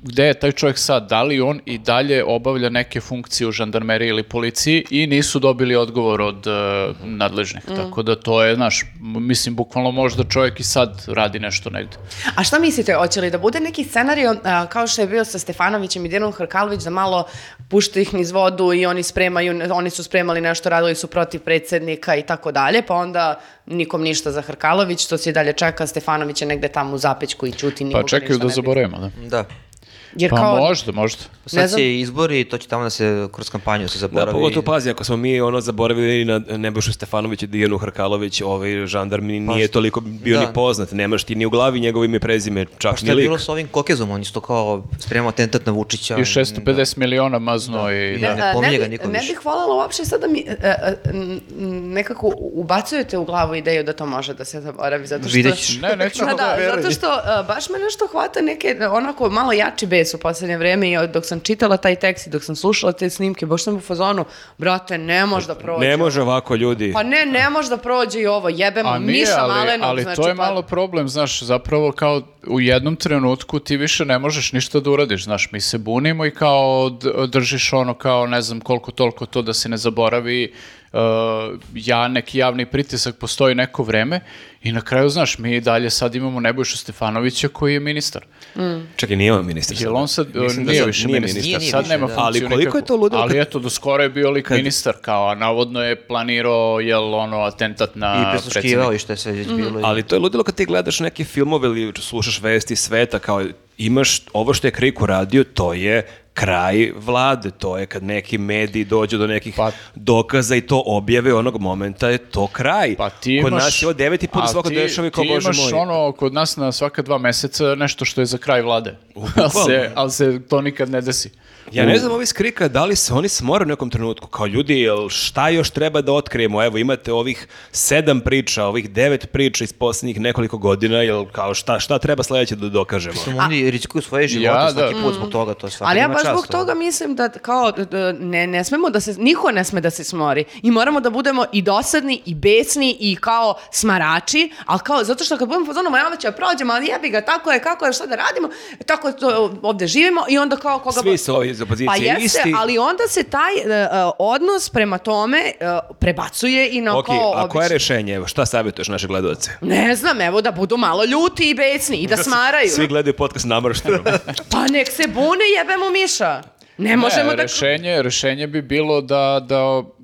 C: gde je taj čovjek sad, da li on i dalje obavlja neke funkcije u žandarmeriji ili policiji i nisu dobili odgovor od uh, nadležnih.
B: Mm.
C: Tako da to je, znaš, m- mislim, bukvalno možda čovjek i sad radi nešto negde.
B: A šta mislite, hoće li da bude neki scenario a, kao što je bio sa Stefanovićem i Dijanom Hrkalović da malo pušta ih niz vodu i oni spremaju, oni su spremali nešto, radili su protiv predsednika i tako dalje, pa onda nikom ništa za Hrkalović, to se i dalje čeka, Stefanović je negde tamo u zapećku i ćuti, nikoga
C: Pa čekaju
B: ništa
C: da
B: ne pita.
C: zaboravimo, da.
D: Da.
B: Jer
C: Pa
B: kao,
C: možda, možda.
B: Ne
D: Sad
B: znam.
D: će izbori i to će tamo da se kroz kampanju se
A: Da, pa
D: zaboravi.
A: pogotovo pazi, ako smo mi ono zaboravili i na Nebojšu Stefanović i Dijanu Hrkalović, ovaj žandar mi nije toliko bio
D: da.
A: ni poznat, nemaš ti ni u glavi njegovo ime i prezime,
B: Pa
A: čak
D: Pa Šta
A: ni
D: je
A: lik.
D: bilo s ovim kokezom? On isto kao spremao atentat na Vučića. Mm,
C: I 650 miliona mazno i...
D: Ne,
C: da.
B: E, ne,
D: pominje ga
B: bi-
D: niko
B: ne
D: više.
B: bih voljela uopšte sad da mi e, e, n- n- nekako ubacujete u glavu ideju da to može da se zaboravi, zato što...
D: Vidjet ćeš.
C: Ne, neću.
B: Pa Da, da, zato što uh, baš me nešto hvata neke uh, onako malo jači bes u poslednje vreme i od- dok sam čitala taj tekst i dok sam slušala te snimke, baš sam u fazonu, brate, ne može da prođe.
A: Ne može ovako ljudi.
B: Pa ne, ne može da prođe i ovo, jebemo,
C: A nije,
B: Miša
C: ali,
B: Malenog.
C: ali
B: Mm, znači,
C: to je
B: pa-
C: malo problem, znaš, zapravo kao u jednom trenutku ti više ne možeš ništa da uradiš, znaš, mi se bunimo i kao d- držiš ono kao ne znam koliko toliko to da se ne zaboravi uh, ja, neki javni pritisak postoji neko vreme i na kraju, znaš, mi i dalje sad imamo Nebojšu Stefanovića koji je ministar.
A: Čekaj, nije on ministar.
C: Jel
A: sada.
C: on sad, uh,
A: Mislim da
C: nije
A: sad
C: više
A: nije
C: ministar,
A: ministar.
D: Nije, nije
C: sad
D: više,
C: nema
D: da.
C: funkciju
A: Ali koliko je
C: nikakvu.
A: to ludilo
C: Ali
A: kad-
C: eto, do skoro je bio lik ministar, kao, a navodno je planirao, jel, ono, atentat na
D: I
C: predsjednika.
D: prisluškivao i što je sve već
B: Mhm.
D: bilo. i-
A: Ali to je ludilo kad ti gledaš neke filmove ili slušaš vesti sveta, kao imaš ovo što je Krik uradio, to je kraj vlade, to je kad neki mediji dođu do nekih
C: Pa-
A: dokaza i to objave onog momenta je to kraj.
C: Pa ti imaš...
A: Kod nas je ovo deveti put
C: A
A: svako
C: ti-
A: dešava i kao bože
C: Ti imaš
A: moj.
C: ono, kod nas na svaka dva meseca nešto što je za kraj vlade. ali, se, ali se to nikad ne desi.
A: Ja ne znam ovi skrika, da li se oni smore u nekom trenutku, kao ljudi, jel šta još treba da otkrijemo, evo imate ovih sedam priča, ovih devet priča iz posljednjih nekoliko godina, jel kao šta, šta treba sledeće da dokažemo?
D: Mislim, oni rizikuju svoje živote
C: Ja,
D: svaki
C: da.
D: put zbog toga, to je svaka
B: Ali ja
C: Pa
D: ima
B: baš baš
D: čas,
B: zbog
D: ono.
B: toga mislim da kao d- d- ne, ne smemo da se, niko ne sme da se smori i moramo da budemo i dosadni i besni i kao smarači, ali kao, zato što kad budemo fazonu, ma ja ću ja prođem, ali jebi ga, tako je, kako je, šta da radimo, tako to ovde živimo i onda kao koga...
A: Svi
B: bo-
A: su ovi iz opozicije
B: Pa jeste,
A: isti.
B: ali onda se taj e, e, odnos prema tome e, prebacuje i na
A: Ok,
B: kao
A: a koje je
B: obične-
A: rešenje? Evo, šta savjetuješ naše gledalce?
B: Ne znam, evo da budu malo ljuti i besni i da smaraju.
A: Svi gledaju podcast namršteno.
B: Pa nek se bune jebemo miša. Ne E, možemo
C: ne,
B: da...
C: rešenje, rešenje bi bilo da, da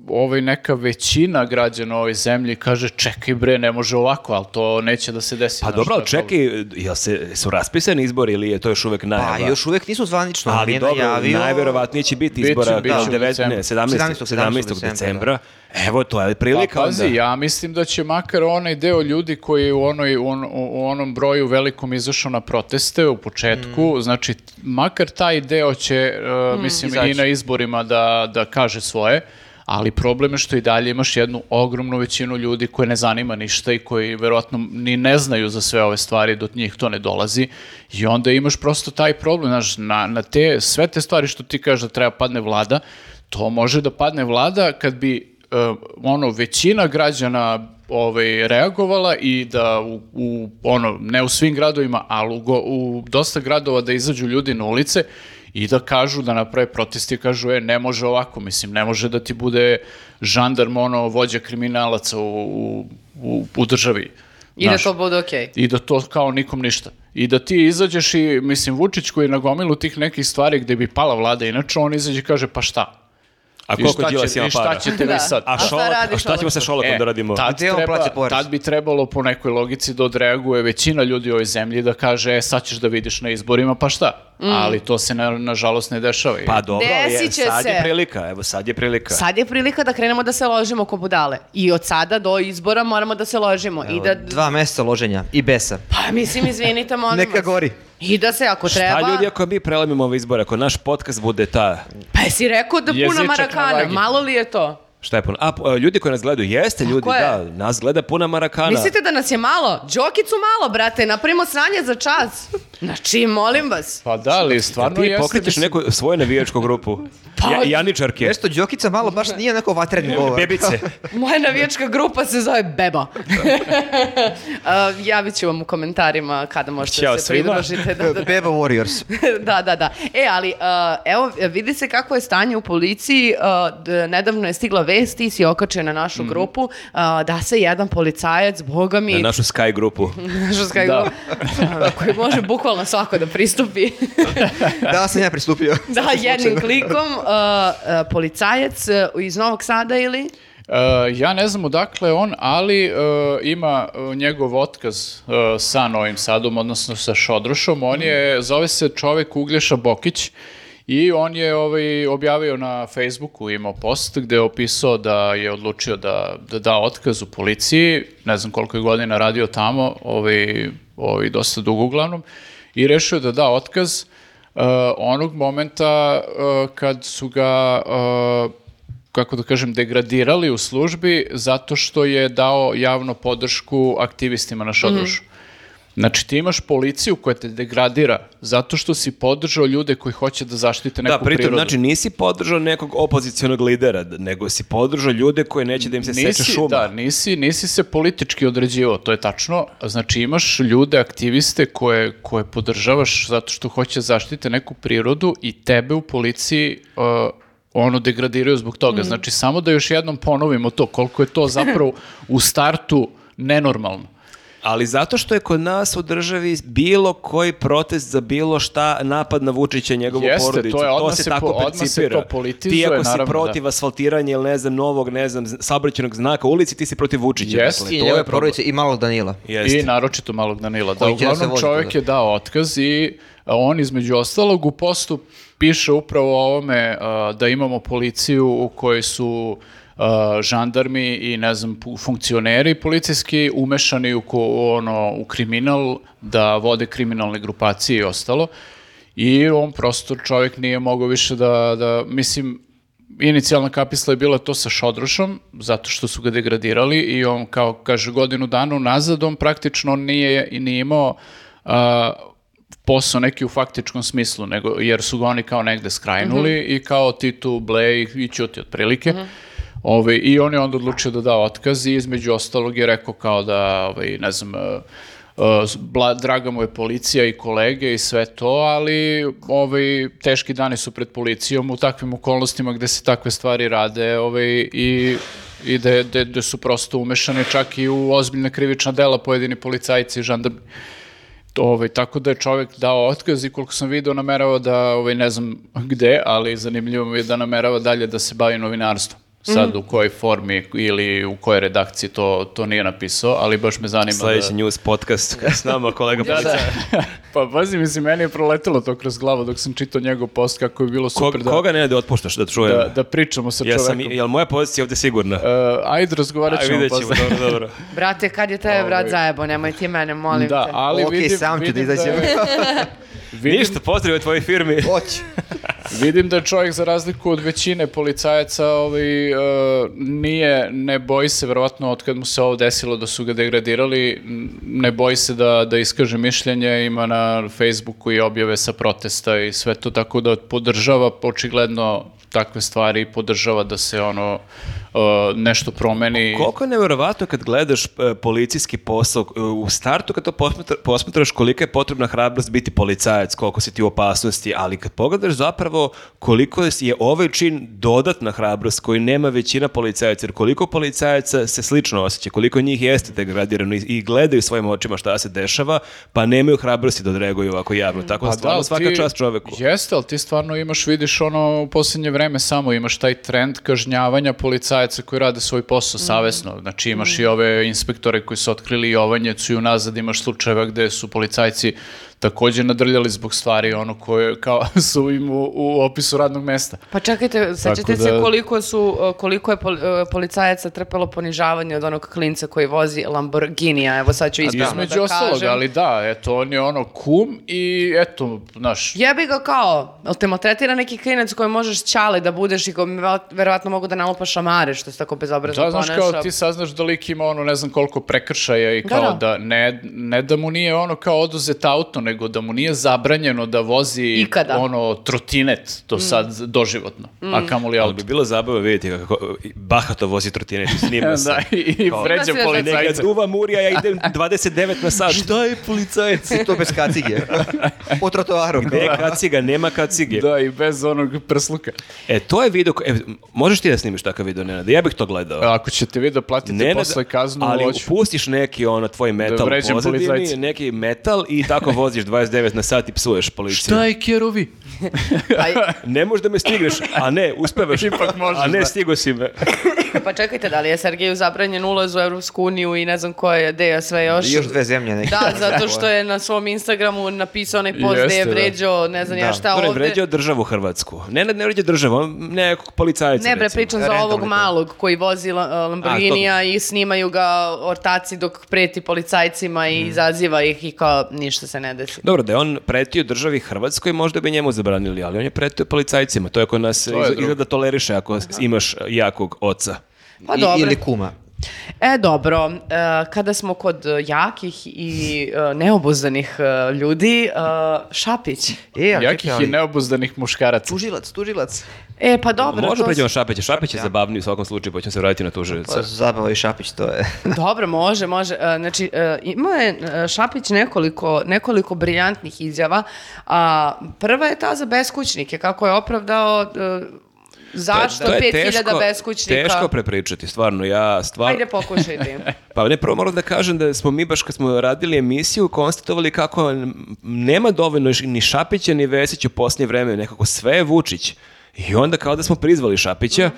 C: ovaj neka većina građana u ovoj zemlji kaže čekaj bre, ne može ovako, ali to neće da se desi.
A: pa
C: znaš,
A: dobro,
C: to
A: ali
C: je problem.
A: čekaj, jel se, su raspisani izbori ili je to još uvek najava?
D: Pa još uvek nisu zvanično,
A: Ali
D: nije
A: dobro,
D: najavio.
A: najverovatnije će biti
C: Biće,
A: izbora
C: biće
A: kao
C: u
A: 19, ne,
C: decembru.
A: 17.
D: 17.
A: 17.
D: decembra,
A: decembra. Evo, to je prilika
C: Pa pazi,
A: onda.
C: ja mislim da će makar onaj deo ljudi koji je u, onoj, u, on- u onom broju velikom izašao na proteste u početku,
A: Mm.
C: znači makar taj deo će, e, mislim, i na izborima da, da kaže svoje, ali problem je što i dalje imaš jednu ogromnu većinu ljudi koje ne zanima ništa i koji verovatno ni ne znaju za sve ove stvari, do njih to ne dolazi i onda imaš prosto taj problem, znaš, na, na te, sve te stvari što ti kažeš da treba padne vlada, to može da padne vlada kad bi e, ono većina građana ovaj reagovala i da u, u, ono ne u svim gradovima, ali u, go- u dosta gradova da izađu ljudi na ulice i da kažu da naprave protesti, kažu e ne može ovako, mislim ne može da ti bude žandarm ono vođa kriminalaca u u, u, u državi.
B: I da
C: Znaš,
B: to bude okej.
C: i da to kao nikom ništa. I da ti izađeš i, mislim, Vučić koji je na gomilu tih nekih stvari gde bi pala vlada, inače on izađe i kaže, pa šta?
A: A
C: I
A: koliko
C: šta
A: Đilas
C: će-
A: ima
C: I šta
A: para?
C: ćete vi
B: Da.
C: sad?
A: A,
B: šta
A: Šolak,
B: radi
A: a šta ćemo
B: Šolak?
A: sa Šolakom
C: E,
A: da radimo?
C: Tad,
D: Gde on
C: treba-
D: plaća porez?
C: tad bi trebalo po nekoj logici da odreaguje većina ljudi u ovoj zemlji da kaže e, sad ćeš da vidiš na izborima, pa šta? Ali to se na, nažalost ne dešava. I-
A: Pa dobro, ali je,
B: Desit će
A: sad je
B: se.
A: prilika. Evo, sad je prilika.
B: Sad je prilika da krenemo da se ložimo ko budale. I od sada do izbora moramo da se ložimo. I da...
D: Dva meseca loženja i besa.
B: Pa mislim, izvinite, molim
D: Neka
B: vas.
D: gori.
B: I da se ako
A: Šta
B: treba...
A: ljudi ako mi prelemimo ove izbore, ako naš podcast bude ta,
B: Pa jesi rekao da
C: Jezičak
B: puno
C: na
B: marakana.
C: vagi.
B: Malo li je to?
A: šta je puno? A, p- ljudi koji nas gledaju, jeste ljudi,
B: je.
A: da, nas gleda puna Marakana.
B: Mislite da nas je malo? Đokicu malo, brate. Napravimo sranje za čas. Znači, molim vas.
C: Pa da, ali
A: Da
C: stvarno
A: ti
C: jeste,
A: pokrećeš
C: mislim-
A: neku svoju navijačku grupu.
B: Pa,
A: ja, janičarke.
D: Nešto Đokica malo baš nije onako vatreni govor.
A: Bebice.
B: Moja navijačka grupa se zove Beba. A, Javit ću vam u komentarima kada možete
A: Ćao
B: da se
A: svima.
B: pridružite. Da, da,
D: Beba Warriors.
B: da, da, da. E, ali uh, evo, vidi se kako je stanje u policiji. Uh, d- nedavno je stigla vest, ti si okačio na našu grupu, uh, da se jedan policajac, boga mi,
A: Na našu Sky grupu.
B: našu Skype
C: Da.
B: grupu, uh, koji može bukvalno svako da pristupi.
D: Da sam ja pristupio.
B: da, jednim klikom. Uh, uh, policajac uh, iz Novog Sada ili?
C: E, ja ne znam odakle je on, ali e, ima e, njegov otkaz e, sa Novim Sadom, odnosno sa Šodrošom. On je, zove se čovek Uglješa Bokić i on je ovaj, objavio na Facebooku, imao post gde je opisao da je odlučio da, da da otkaz u policiji. Ne znam koliko je godina radio tamo, ovaj, ovaj, dosta dugo uglavnom. I rešio da da otkaz e, onog momenta e, kad su ga e, kako da kažem, degradirali u službi zato što je dao javno podršku aktivistima na Šodrošu. Znači ti imaš policiju koja te degradira zato što si podržao ljude koji hoće da zaštite neku
A: da, pritom,
C: prirodu.
A: znači, nisi podržao nekog opozicionog lidera, d- nego si podržao ljude koji neće da im se seče šuma.
C: Da, nisi, nisi se politički određivao, to je tačno. Znači imaš ljude, aktiviste koje, koje podržavaš zato što hoće zaštite neku prirodu i tebe u policiji uh, ono degradiraju zbog
A: Mm.
C: toga. Znači samo da još jednom ponovimo to koliko je to zapravo u startu nenormalno.
A: Ali zato što je kod nas u državi bilo koji protest za bilo šta napad na Vučića i njegovu
C: Jeste,
A: porodicu.
C: to je, odmah
A: se
C: se
A: tako
C: po- odmah se
A: percipira.
C: to politizuje,
A: Ti ako
C: naravno,
A: si
C: da.
A: protiv asfaltiranja ili ne znam, novog, ne znam, saobraćajnog znaka u ulici, ti si protiv Vučića.
C: Jeste.
A: dakle.
D: I
C: To
D: njegove
C: je problem.
D: porodice i malog Danila.
A: Jeste.
C: I naročito malog Danila. Da,
D: Koji će da se
C: uglavnom
D: vozi
C: čovjek
D: tuda.
C: je dao otkaz i a, on između ostalog u postu piše upravo o ovome a, da imamo policiju u kojoj su a, žandarmi i ne znam pu- funkcioneri policijski umešani u, ko- u ono, u kriminal da vode kriminalne grupacije i ostalo i on prosto čovjek nije mogao više da, da mislim inicijalna kapisla je bila to sa Šodrošom, zato što su ga degradirali i on, kao kaže, godinu dana unazad, on praktično nije, i nije imao a, posao neki u faktičkom smislu, nego, jer su ga oni kao negde skrajnuli i kao ti tu blej i ćuti otprilike. Ovaj, I on je onda odlučio da da otkaz i između ostalog je rekao kao da, ovaj, ne znam, e, e, s- bla- draga mu je policija i kolege i sve to, ali ovaj, teški dani su pred policijom u takvim okolnostima gde se takve stvari rade ovaj, i, i da, da, da su prosto umešane čak i u ozbiljna krivična dela pojedini policajci i žandarmi. To, Ovaj, tako da je čovjek dao otkaz i koliko sam video namerava da, ovaj, ne znam gde, ali zanimljivo mi je da namerava dalje da se bavi novinarstvom.
A: Mhm.
C: Sad u kojoj formi ili u kojoj redakciji to, to nije napisao, ali baš me zanima
A: Sljedeći
C: da...
A: news podcast s nama kolega
C: Da,
A: policija.
C: da. pa pazi, mislim, meni je proletelo to kroz glavu dok sam čitao njegov post kako je bilo
A: Ko-
C: super da,
A: koga ne da otpuštaš da čujem?
C: da, da pričamo sa
A: Ja
C: čovekom.
A: sam, jel moja pozicija je ovdje sigurna?
C: E, ajde, razgovarat
A: Aj,
C: ćemo
A: vidjet ćemo,
C: posle.
A: dobro, dobro.
B: Brate, kad je taj vrat
C: Ovaj.
B: zajebo, nemoj ti mene, molim
C: Da,
B: te.
C: ali
D: Ok,
C: vidim,
D: sam ću da
C: vidim
D: izađem.
C: je- vidim
A: Ništa, pozdrav od tvojoj firmi.
D: Hoću.
C: Vidim da čovjek za razliku od većine policajaca ovaj, e, nije, ne boji se verovatno od kad mu se ovo desilo da su ga degradirali, n- ne boji se da, da iskaže mišljenje, ima na Facebooku i objave sa protesta i sve to, tako da podržava očigledno takve stvari i podržava da se ono e, nešto promeni.
A: Koliko je nevjerovatno kad gledaš e, policijski posao, e, u startu kad to posmatra- posmatraš kolika je potrebna hrabrost biti policajac, koliko si ti u opasnosti, ali kad pogledaš zapravo koliko je je ovaj čin dodatna hrabrost koju nema većina policajaca, jer koliko policajaca se slično osjeća, koliko njih jeste degradirano i, i gledaju svojim očima šta se dešava, pa nemaju hrabrosti da odreaguju ovako javno. Tako da
C: Pa
A: stvarno
C: ali
A: svaka
C: ti-
A: čast čoveku.
C: Jeste, ali ti stvarno imaš, vidiš ono u posljednje vreme samo, imaš taj trend kažnjavanja policajaca koji rade svoj posao
B: Mhm.
C: savjesno. Znači imaš i ove inspektore koji su otkrili Jovanjecu i unazad imaš slučajeva gde su policajci također nadrljali zbog stvari ono koje kao su im u, u opisu radnog mesta.
B: Pa čekajte, sećate
C: Tako
B: se
C: da-
B: koliko, su, uh, koliko je pol- uh, policajaca trpelo ponižavanje od onog klinca koji vozi Lamborghinija, evo sad ću ispravno
C: Između
B: da
C: ostalog,
B: kažem.
C: ali da, eto, on je ono kum i eto, znaš,
B: Jebi ga kao, jel te maltretira neki klinac koji možeš ćale da budeš i koji verovatno mogu da nalupa šamare što se tako bezobrazno
C: Da, znaš
B: ponaša.
C: kao ti saznaš da lik ima ono ne znam koliko prekršaja i kao da,
B: da.
C: ne, ne da mu nije ono kao oduzet auto, nego da mu nije zabranjeno da vozi
B: Ikada.
C: ono trotinet do sad doživotno, a kamoli
A: Ali
C: auto.
A: bi bilo zabavno vidjeti kako e, bahato vozi trotinet i snima se.
C: da, i, i
A: Kao-
C: vređa
B: Ima sve
A: Neka
C: policajca.
A: duva murija, ja idem 29 na sat. Šta je policajac?
D: I to bez kacige. Po trotoaru.
A: Gde je kaciga? Nema kacige.
C: Da, i bez onog prsluka.
A: E, to je video... ko- E, možeš ti da snimiš takav video, Nenad? Ja bih to gledao.
C: Ako ćete vi da platite
A: Nenad,
C: posle kaznu,
A: ali
C: hoću.
A: pustiš neki ono tvoj metal u
C: vređam
A: pozadini,
C: policajce.
A: neki metal i tako voziš 29 na sat i psuješ policiju.
C: Šta je kerovi?
B: Aj,
A: Ne možeš da me stigneš, a ne, uspevaš.
C: Ipak možeš,
A: A ne,
C: da.
A: stigo si me.
B: pa čekajte, da li je Sergeju zabranjen ulaz u Evropsku uniju i ne znam koje, gde je sve još?
D: I još dve zemlje neke.
B: Da, zato što je na svom Instagramu napisao onaj post gde je
C: Jeste, da.
B: vređao, ne znam ja
D: Da.
B: šta
A: Dobre,
B: ovde.
A: vređao državu Hrvatsku. Nenad ne vređa državu, on nekog policajca.
B: Ne bre,
A: recimo.
B: pričam za
D: Rentom
B: ovog
D: neko.
B: malog koji vozi la- Lamborghinija i snimaju ga ortaci dok preti policajcima i izaziva ih i kao ništa se ne desi.
A: Dobro, da je on pretio državi Hrvatskoj, možda bi njemu zabranili, ali on je pretio policajcima. To je kod nas
C: je
A: iz-
C: drugo.
A: izgleda toleriše ako imaš jakog oca.
B: Pa
D: I-
B: dobro.
D: Ili kuma.
B: E, dobro, e, kada smo kod e, jakih i e, neobuzdanih e, ljudi, e, Šapić.
D: E, ali
C: Jakih
D: čekaj, ali-
C: i neobuzdanih muškaraca.
D: Tužilac, tužilac.
B: E, pa dobro.
A: Možda
B: to
A: pređemo na
B: su-
A: Šapića. Šapić je zabavniji u svakom slučaju, pa ćemo se vratiti na tužilica.
D: Pa zabava i šapić, to je.
B: Dobro, može, može. E, Znači, e, imao je e, Šapić nekoliko, nekoliko briljantnih izjava. A prva je ta za beskućnike, kako je opravdao e, zašto 5000 beskućnika.
A: Teško prepričati, stvarno. Ja stvarno...
B: Ajde pokušaj ti.
A: Pa ne, prvo moram da kažem da smo mi baš kad smo radili emisiju konstatovali kako n- nema dovoljno š- ni Šapića ni Vesića u posljednje vreme, nekako sve je Vučić. I onda kao da smo prizvali Šapića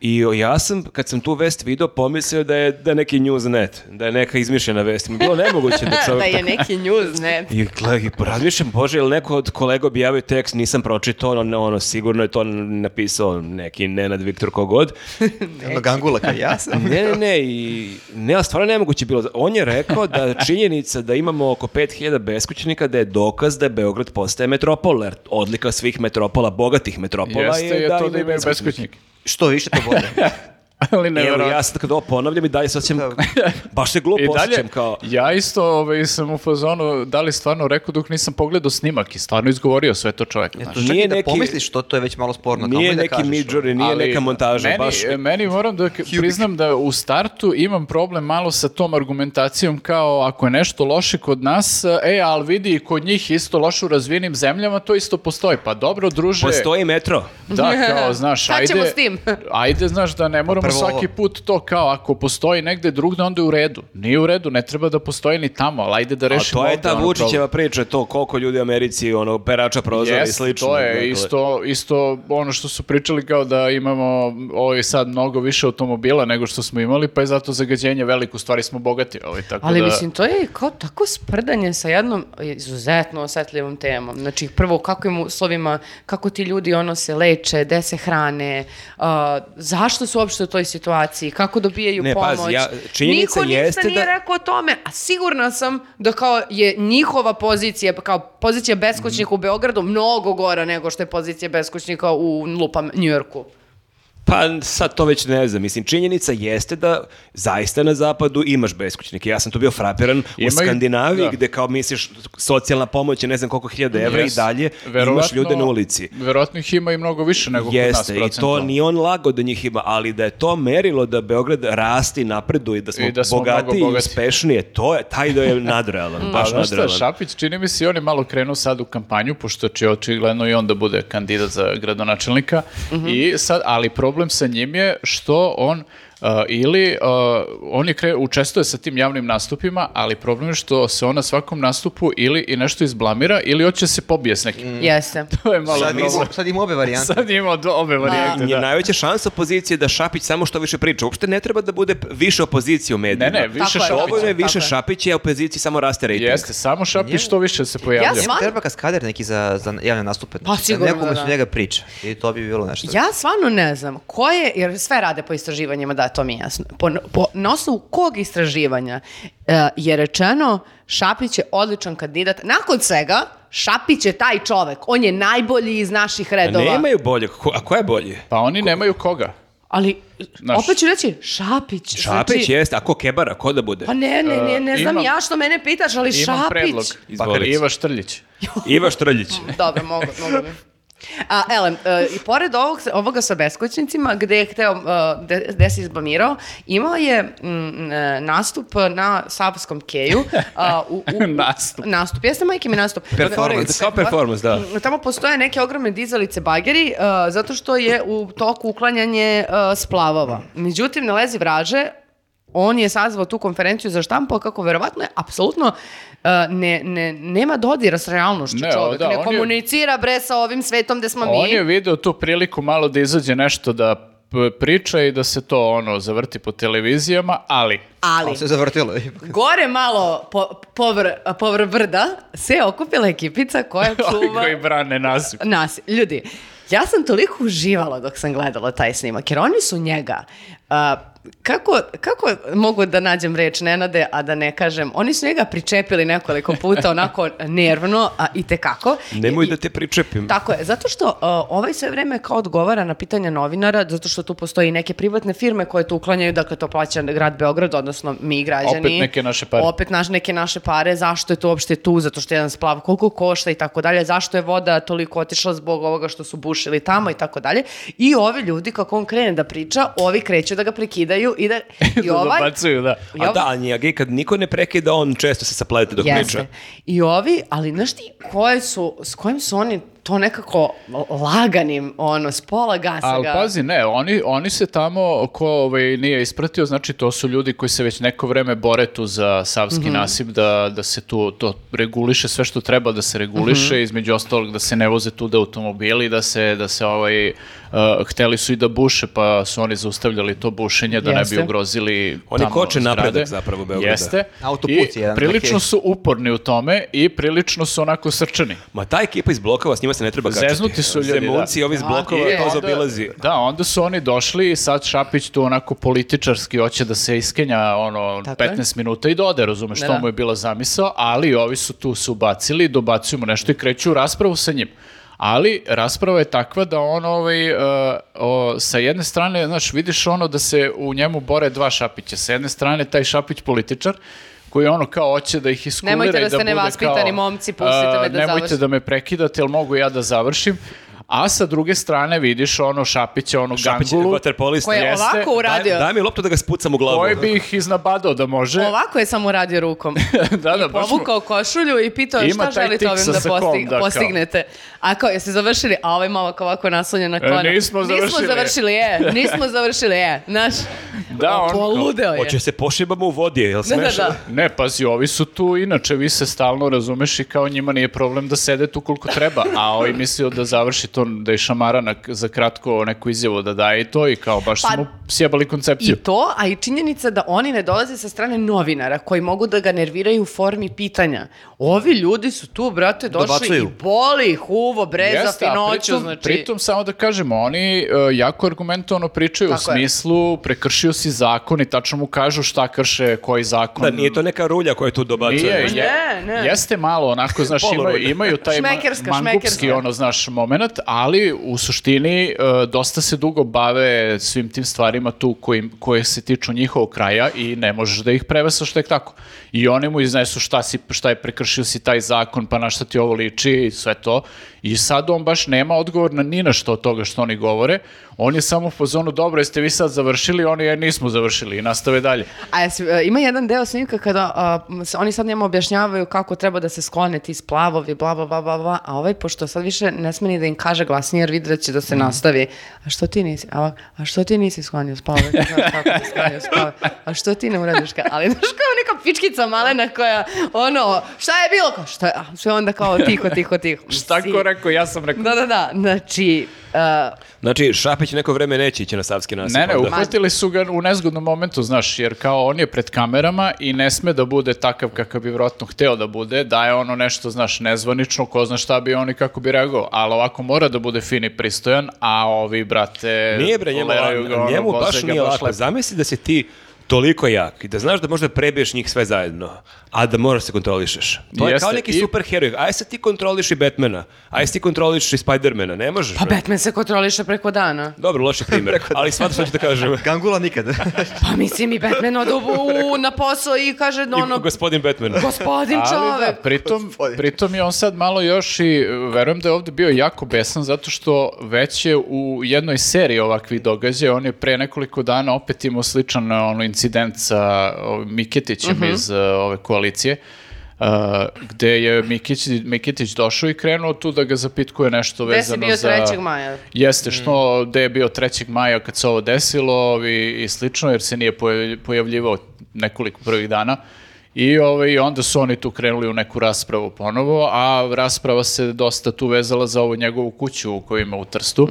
A: i o- ja sam, kad sam tu vest video, pomislio da je da je neki newsnet, da je neka izmišljena vest. Bilo nemoguće da čovjek
B: da je
A: tako-
B: neki news, ne.
A: I gle, i razmišljam, bože, ili neko od kolega objavio tekst, nisam pročitao, ono, ono, sigurno je to napisao neki Nenad Viktor kogod.
D: Ono gangula kao ja sam.
A: Ne, ne, ne, i ne, ali stvarno nemoguće je bilo. On je rekao da činjenica da imamo oko 5000 beskućnika da je dokaz da je Beograd postaje metropola, jer odlika svih metropola, bogatih metropola
C: Jeste je to da
A: imaju
C: imaju beskućnike.
D: Što više, to bolje.
C: Ali ne
A: Evo, ja sad kad ovo ponavljam i dalje se osjećam, baš se glupo
C: I dalje,
A: osjećam kao,
C: ja isto ovaj, sam u fazonu, da li stvarno rekao dok nisam pogledao snimak i stvarno izgovorio sve to čovjek. znaš.
D: Čak
A: Nije
D: i da
A: neki-
D: pomisliš to, to je već malo sporno. Kamo
A: nije
D: i da
A: neki
D: kažeš,
A: midžori, nije
C: Ali
A: neka montaža,
C: meni, e,
A: baš
C: Meni moram da k- priznam da u startu imam problem malo sa tom argumentacijom kao ako je nešto loše kod nas, e, ali vidi i kod njih isto loše u razvijenim zemljama, to isto postoji. Pa dobro, druže,
A: postoji metro.
C: da, kao, znaš,
B: Šta
C: ajde,
B: ćemo s tim?
C: ajde, znaš, da ne
A: Pa
C: moramo
D: Prvo ovo.
C: svaki put to kao, ako postoji negde drugde, onda je u redu. Nije u redu, ne treba da postoji ni tamo, ali ajde da
A: A
C: rešimo
A: to je
C: ovde
A: ta
C: ono problem.
A: Vučićeva priča, to koliko ljudi u Americi, ono, perača prozora i
C: Jeste,
A: slično.
C: to je
A: dakle.
C: isto, isto ono što su pričali kao da imamo ovaj sad mnogo više automobila nego što smo imali, pa je zato zagađenje veliko, u stvari smo bogati. Ovaj, tako
B: Ali
C: da,
B: mislim, to je kao tako sprdanje sa jednom izuzetno osetljivom temom. Znači, prvo, u kakvim uslovima, kako ti ljudi ono se leče, gde se hrane, a, zašto su uopšte u toj situaciji, kako dobijaju
A: Ne,
B: pomoć.
A: pazi, ja- činjenica
B: Niko ništa
A: jeste
B: nije
A: da-
B: rekao o tome, a sigurna sam da kao je njihova pozicija, pa kao pozicija beskućnika
A: Mm.
B: u Beogradu mnogo gora nego što je pozicija beskućnika u lupam Njujorku.
A: Pa sad to već ne znam. Mislim, činjenica jeste da zaista na zapadu imaš beskućnike. Ja sam tu bio frapiran u
C: Ima ih-
A: Skandinaviji
C: da.
A: gde kao misliš socijalna pomoć je ne znam koliko hiljada evra
C: Jes,
A: i dalje imaš
C: verovatno-
A: ljude na ulici.
C: Verovatno ih ima i mnogo više nego
A: Jeste,
C: kod nas.
A: i to ni on lago da njih ima, ali da je to merilo da Beograd rasti, napreduje, da smo,
C: I da smo mnogo
A: bogatiji i
C: bogati.
A: uspešnije, to je, taj da je nadrealan, baš
C: Baš
A: nadrealan.
C: Šapić, čini mi se i on je malo krenuo sad u kampanju, pošto će očigledno i on da bude kandidat za gradonačelnika. I sad, ali problem sa njim je što on uh, ili uh, on je kre, učestvuje sa tim javnim nastupima, ali problem je što se on na svakom nastupu ili i nešto izblamira ili hoće da se pobije s nekim.
A: Mm.
B: Jeste.
C: To je malo
D: Sad,
C: problem.
D: im, sad im obe varijante.
C: Sad ima do- obe varijante,
A: Je
C: da.
A: najveća šansa opozicije da Šapić samo što više priča. Uopšte ne treba da bude više opozicije u
C: Ne,
A: medijima.
C: ne,
B: Tako
C: više
B: je,
C: Šapića.
A: Dovoljno je
B: Tako
A: više
B: je.
A: Šapića, a opoziciji samo raste rejting.
C: Jeste, samo Šapić što više se pojavlja.
B: Ja sam-
D: Stvarno? Treba kaskader neki za, za javne nastupe.
B: Pa sigurno
D: Neko
B: da
D: među
B: da.
D: njega priča. I to bi bilo nešto.
B: Ja stvarno ne znam ko je, jer sve rade po istraživanjima, da, to mi je jasno. Po, po, na osnovu kog istraživanja e, je rečeno Šapić je odličan kandidat. Nakon svega, Šapić je taj čovek. On je najbolji iz naših redova.
A: Nemaju boljeg. Ko- A ko je bolji?
C: Pa oni nemaju koga.
B: Ali,
C: Znaš-
B: opet ću reći, Šapić.
A: Šapić
B: znači-
A: jeste, a ko Kebara, ko da bude?
B: Pa ne, ne, ne, ne
C: E,
B: znam
C: imam-
B: ja što mene pitaš, ali
C: Imam
B: Šapić.
C: predlog. Pa
A: Izvolite.
C: Iva Štrljić.
A: Iva Štrljić.
B: Dobro, mogu, mogu bi. A, ele, e, i pored ovog, ovoga sa beskućnicima, gde je hteo, e, gde, gde se izblamirao, imao je mm, e, nastup na Savskom keju. a, u, u,
C: Nastup.
B: Nastup, jeste majke mi nastup.
A: Performance, kao performance, da.
B: Mm, Tamo postoje neke ogromne dizalice bageri e, zato što je u toku uklanjanje e, splavova. Međutim, nalezi vraže, on je sazvao tu konferenciju za štampu, kako verovatno je, apsolutno e, ne, ne, nema dodira s realnošću
C: Ne,
B: čovjek.
C: da, on
B: ne
C: je-
B: komunicira bre sa ovim svetom gde smo Pa mi.
C: On je video tu priliku malo da izađe nešto da p- priča i da se to ono zavrti po televizijama, ali
B: Ali,
D: Ali se zavrtilo. ipak.
B: gore malo po, povr, povr brda se okupila ekipica koja
C: ovi
B: čuva...
C: koji brane nasip.
B: nas, ljudi, ja sam toliko uživala dok sam gledala taj snimak, jer oni su njega, a, kako, kako mogu da nađem reč Nenade, a da ne kažem, oni su njega pričepili nekoliko puta, onako nervno, a i tekako.
A: Pa- Nemoj da te pričepim.
B: Tako je, zato što a, ovaj sve vreme kao odgovara na pitanja novinara, zato što tu postoji neke privatne firme koje tu uklanjaju, dakle to plaća grad Beograd, odnosno mi građani.
C: Opet neke naše pare.
B: Opet naš, neke naše pare, zašto je to uopšte tu, zato što jedan splav koliko košta i tako dalje, zašto je voda toliko otišla zbog ovoga što su bušili tamo i tako dalje. I ovi ljudi, kako on krene da priča, ovi kreću da ga prekidaju i da... I
C: Da
B: ovaj,
C: dobacuju, da.
B: i
A: A
B: ovaj-
A: da, a njega kad niko ne prekida, on često se saplete dok priča.
B: i ovi, ali znaš ti koje su, s kojim su oni to nekako laganim, ono, s pola gasa
C: Ali
B: ga.
C: pazi, ne, oni, oni se tamo, ko ovaj, nije ispratio, znači to su ljudi koji se već neko vreme bore tu za savski
D: Mhm.
C: nasip, da, da se tu to reguliše sve što treba da se reguliše,
D: Mhm.
C: između ostalog da se ne voze tu da automobili, da se, da se ovaj, uh, hteli su i da buše, pa su oni zaustavljali to bušenje da
B: Jeste.
C: ne bi ugrozili
A: Oni
C: tamo
A: koče
C: zgrade.
A: napredak zapravo Beograda.
C: Jeste.
D: Autoput
C: I
D: je jedan
C: prilično
D: taki-
C: su uporni u tome i prilično su onako srčani.
A: Ma ta ekipa iz blokova, s njima se ne treba kačiti.
C: Zeznuti su ljudi, da.
A: Zemunci i ovi iz blokova,
C: I
A: to
C: onda-
A: zaobilazi.
C: Da, onda su oni došli i sad Šapić tu onako političarski hoće da se iskenja ono
B: Tako je.
C: 15 minuta i da ode, razumeš,
B: Da,
C: to
B: da.
C: mu je bila zamisao, ali ovi su tu se ubacili, dobacuju mu nešto i kreću u raspravu sa njim. Ali rasprava je takva da on ovaj, e, o, sa jedne strane, znaš, vidiš ono da se u njemu bore dva šapića. Sa jedne strane taj šapić političar koji ono kao hoće da ih iskulira
B: Nemojte
C: i
B: da
C: da
B: ste
C: bude
B: nevaspitani
C: kao,
B: momci, pustite me
C: "A,
B: da
C: nemojte
B: završim."
C: da me prekidate, jel mogu ja da završim? A sa druge strane vidiš ono Šapića, ono
A: Šapić,
C: Gangulu,
A: vaterpolista.
B: Ko je
C: jeste,
B: ovako uradio,
A: Daj, daj mi loptu da ga spucam u glavu.
C: koji bi ih iznabadao da može.
B: ovako je samo uradio rukom.
C: da, da, baš mu-
B: Povukao košulju i pitao
C: Ima
B: šta
C: taj
B: želite
C: tik
B: ovim
C: sa
B: da,
C: sakom,
B: posti-
C: da, kao.
B: postignete. A kao, jeste završili? A ovaj momak ovako naslonjen na kona.
C: E, nismo završili.
B: završili, je. Nismo završili, je. Znaš,
C: Da, on-
B: poludeo je.
A: Hoće se pošibamo u vodi, jel
B: Da, da,
A: smeš?
B: da.
C: Ne, pazi, ovi su tu, inače vi se stalno razumeš i kao njima nije problem da sede tu koliko treba, a ovi mislio da završi to, da je šamara na, za kratko neku izjavu da daje i to i kao baš
B: Pa-
C: smo sjebali
B: I
C: koncepciju.
B: to, a i činjenica da oni ne dolaze sa strane novinara koji mogu da ga nerviraju u formi pitanja. Ovi ljudi su tu, brate, došli
D: Dobacuju.
B: i boli ih uvo, breza,
C: Jeste, a
B: finoću.
C: pritom,
B: znači...
C: pritom samo da kažemo, oni e, jako argumentovano pričaju u
B: Tako je.
C: smislu prekršio si zakon i tačno mu kažu šta krše, koji zakon.
A: Da, nije to neka rulja koja tu dobacuje.
C: Nije,
B: Ne,
C: je-
B: ne.
C: jeste malo onako, znaš, imaju,
A: Polaroid.
C: imaju taj ma-
B: Šmekerska,
C: mangupski
B: šmekerska.
C: ono, znaš, moment, ali u suštini e, dosta se dugo bave svim tim stvarima tu kojim, koje se tiču njihovog kraja i ne možeš da ih prevesaš tek tako. I oni mu iznesu šta, si, šta je prekršio si taj zakon, pa na šta ti ovo liči i sve to. I sad on baš nema odgovor na ni na što od toga što oni govore. On je samo u pozonu, dobro, jeste vi sad završili, oni "E, nismo završili i nastave dalje.
B: A jes- e, ima jedan deo snimka kada a, m, se- oni sad njemu objašnjavaju kako treba da se sklone ti splavovi, bla, bla, bla, bla, bla, a ovaj, pošto sad više ne sme ni da im kaže glasnije jer vidi da će da se nastavi. A što ti nisi, a, a što ti nisi sklonio splavovi, Ti znaš kako si sklonio splavovi, a što ti ne uradiš ka... Ali znaš kao neka pičkica malena koja, ono, šta je bilo, kao, šta je, a sve onda kao tiho, tiho, tiho.
C: Šta
B: Mislim,
C: ko rekao, ja sam rekao.
B: Da, da, da, znači, e,
A: Znači, Šapić neko vreme neće ići na Savski nasip.
C: Ne, ne,
A: onda.
C: uhvatili su ga u nezgodnom momentu, znaš, jer kao on je pred kamerama i ne sme da bude takav kakav bi vjerojatno hteo da bude, da je ono nešto, znaš, nezvanično, ko zna šta bi on i kako bi reagovao, ali ovako mora da bude fin i pristojan, a ovi, brate,
A: Nije bre, njemu,
C: leraju ga, ono,
A: njemu
C: voze
A: baš
C: ga
A: nije lako.
C: lepo.
A: Zamisli da si ti toliko jak i da znaš da možda prebiješ njih sve zajedno, a da moraš se kontrolišeš. To je kao
C: Jeste,
A: neki
C: i-
A: superheroj. Aj se ti kontroliš i Batmana, aj se ti kontroliš i Spidermana, ne možeš.
B: pa
A: bre.
B: Batman se kontroliše preko dana.
A: Dobro, loši primjer, ali shvatim što ću da kažem.
D: Gangula nikad.
B: Pa mislim i Batman odubu na posao i kaže no, ono,
A: I gospodin Batman.
B: gospodin
C: Ali da,
B: čovek.
C: pritom, pritom je on sad malo još i, verujem da je ovdje bio jako besan, zato što već je u jednoj seriji ovakvih događaja, on je pre nekoliko dana opet imao sličan ono, incident sa ovim Miketićem
B: Mhm.
C: iz uh, ove koalicije, uh, gde je Mikić, Miketić došao i krenuo tu da ga zapitkuje nešto
B: Gde si
C: vezano
B: bio
C: za...
B: 3. maja?
C: Jeste, što gde je bio 3. maja kad se ovo desilo i, i slično, jer se nije pojav- pojavljivao nekoliko prvih dana. I ovaj, onda su oni tu krenuli u neku raspravu ponovo, a rasprava se dosta tu vezala za ovu njegovu kuću koju ima u Trstu.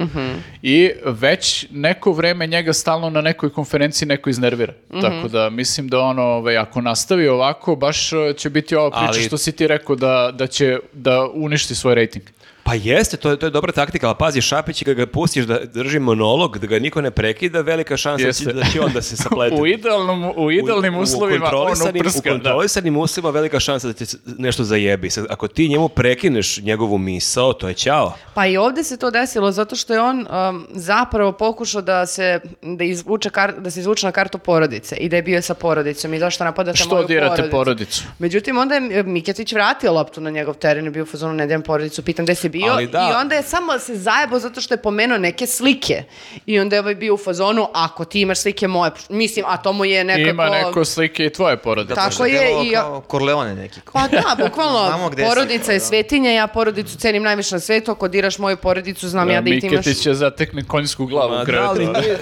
C: I već neko vreme njega stalno na nekoj konferenciji neko iznervira. Tako da mislim da ono, ovaj, ako nastavi ovako, baš eh, će biti ova priča
A: Ali-
C: što si ti rekao da, da će da uništi svoj rejting.
A: Pa jeste, to je, to je dobra taktika, ali pazi, Šapić, kad ga pustiš da drži monolog, da ga niko ne prekida, velika šansa da će-
C: Jeste.
A: da će on da se saplete.
C: U idealnom, u idealnim
A: U- u
C: uslovima on
A: kontrolisanim-
C: uprska.
A: U
C: da.
A: kontrolisanim uslovima velika šansa da ti se nešto zajebi. Sad, ako ti njemu prekineš njegovu misao, to je ćao.
B: Pa i ovdje se to desilo zato što je on um, zapravo pokušao da se da izvuče kar- da se izvuče na kartu porodice i da je bio sa porodicom i zašto napadate
C: Što
B: moju
C: dirate
B: porodicu.
C: porodicu?
B: Međutim, onda je e, Miketić vratio loptu na njegov teren i bio u fazonu ne dajem porodicu, pitam gde si bio
A: Ali da.
B: i onda je samo se zajebo zato što je pomenuo neke slike i onda je ovaj bio u fazonu ako ti imaš slike moje, mislim, a to mu je nekako...
C: Ima neko slike i tvoje porodice.
B: Tako
D: Možda
B: je
D: delovalo
B: i-
D: Kao Corleone neki.
B: Pa da, bukvalno,
D: Znamo gde si,
B: porodica je
D: da.
B: svetinja, ja porodicu cenim najviše na svetu, ako diraš moju porodicu, znam ja da i ti imaš...
C: Miketić je zatekne konjsku glavu
A: Ma
C: u
A: da,
C: krevetu.
A: ali nije,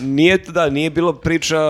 A: nije, da, nije bilo priča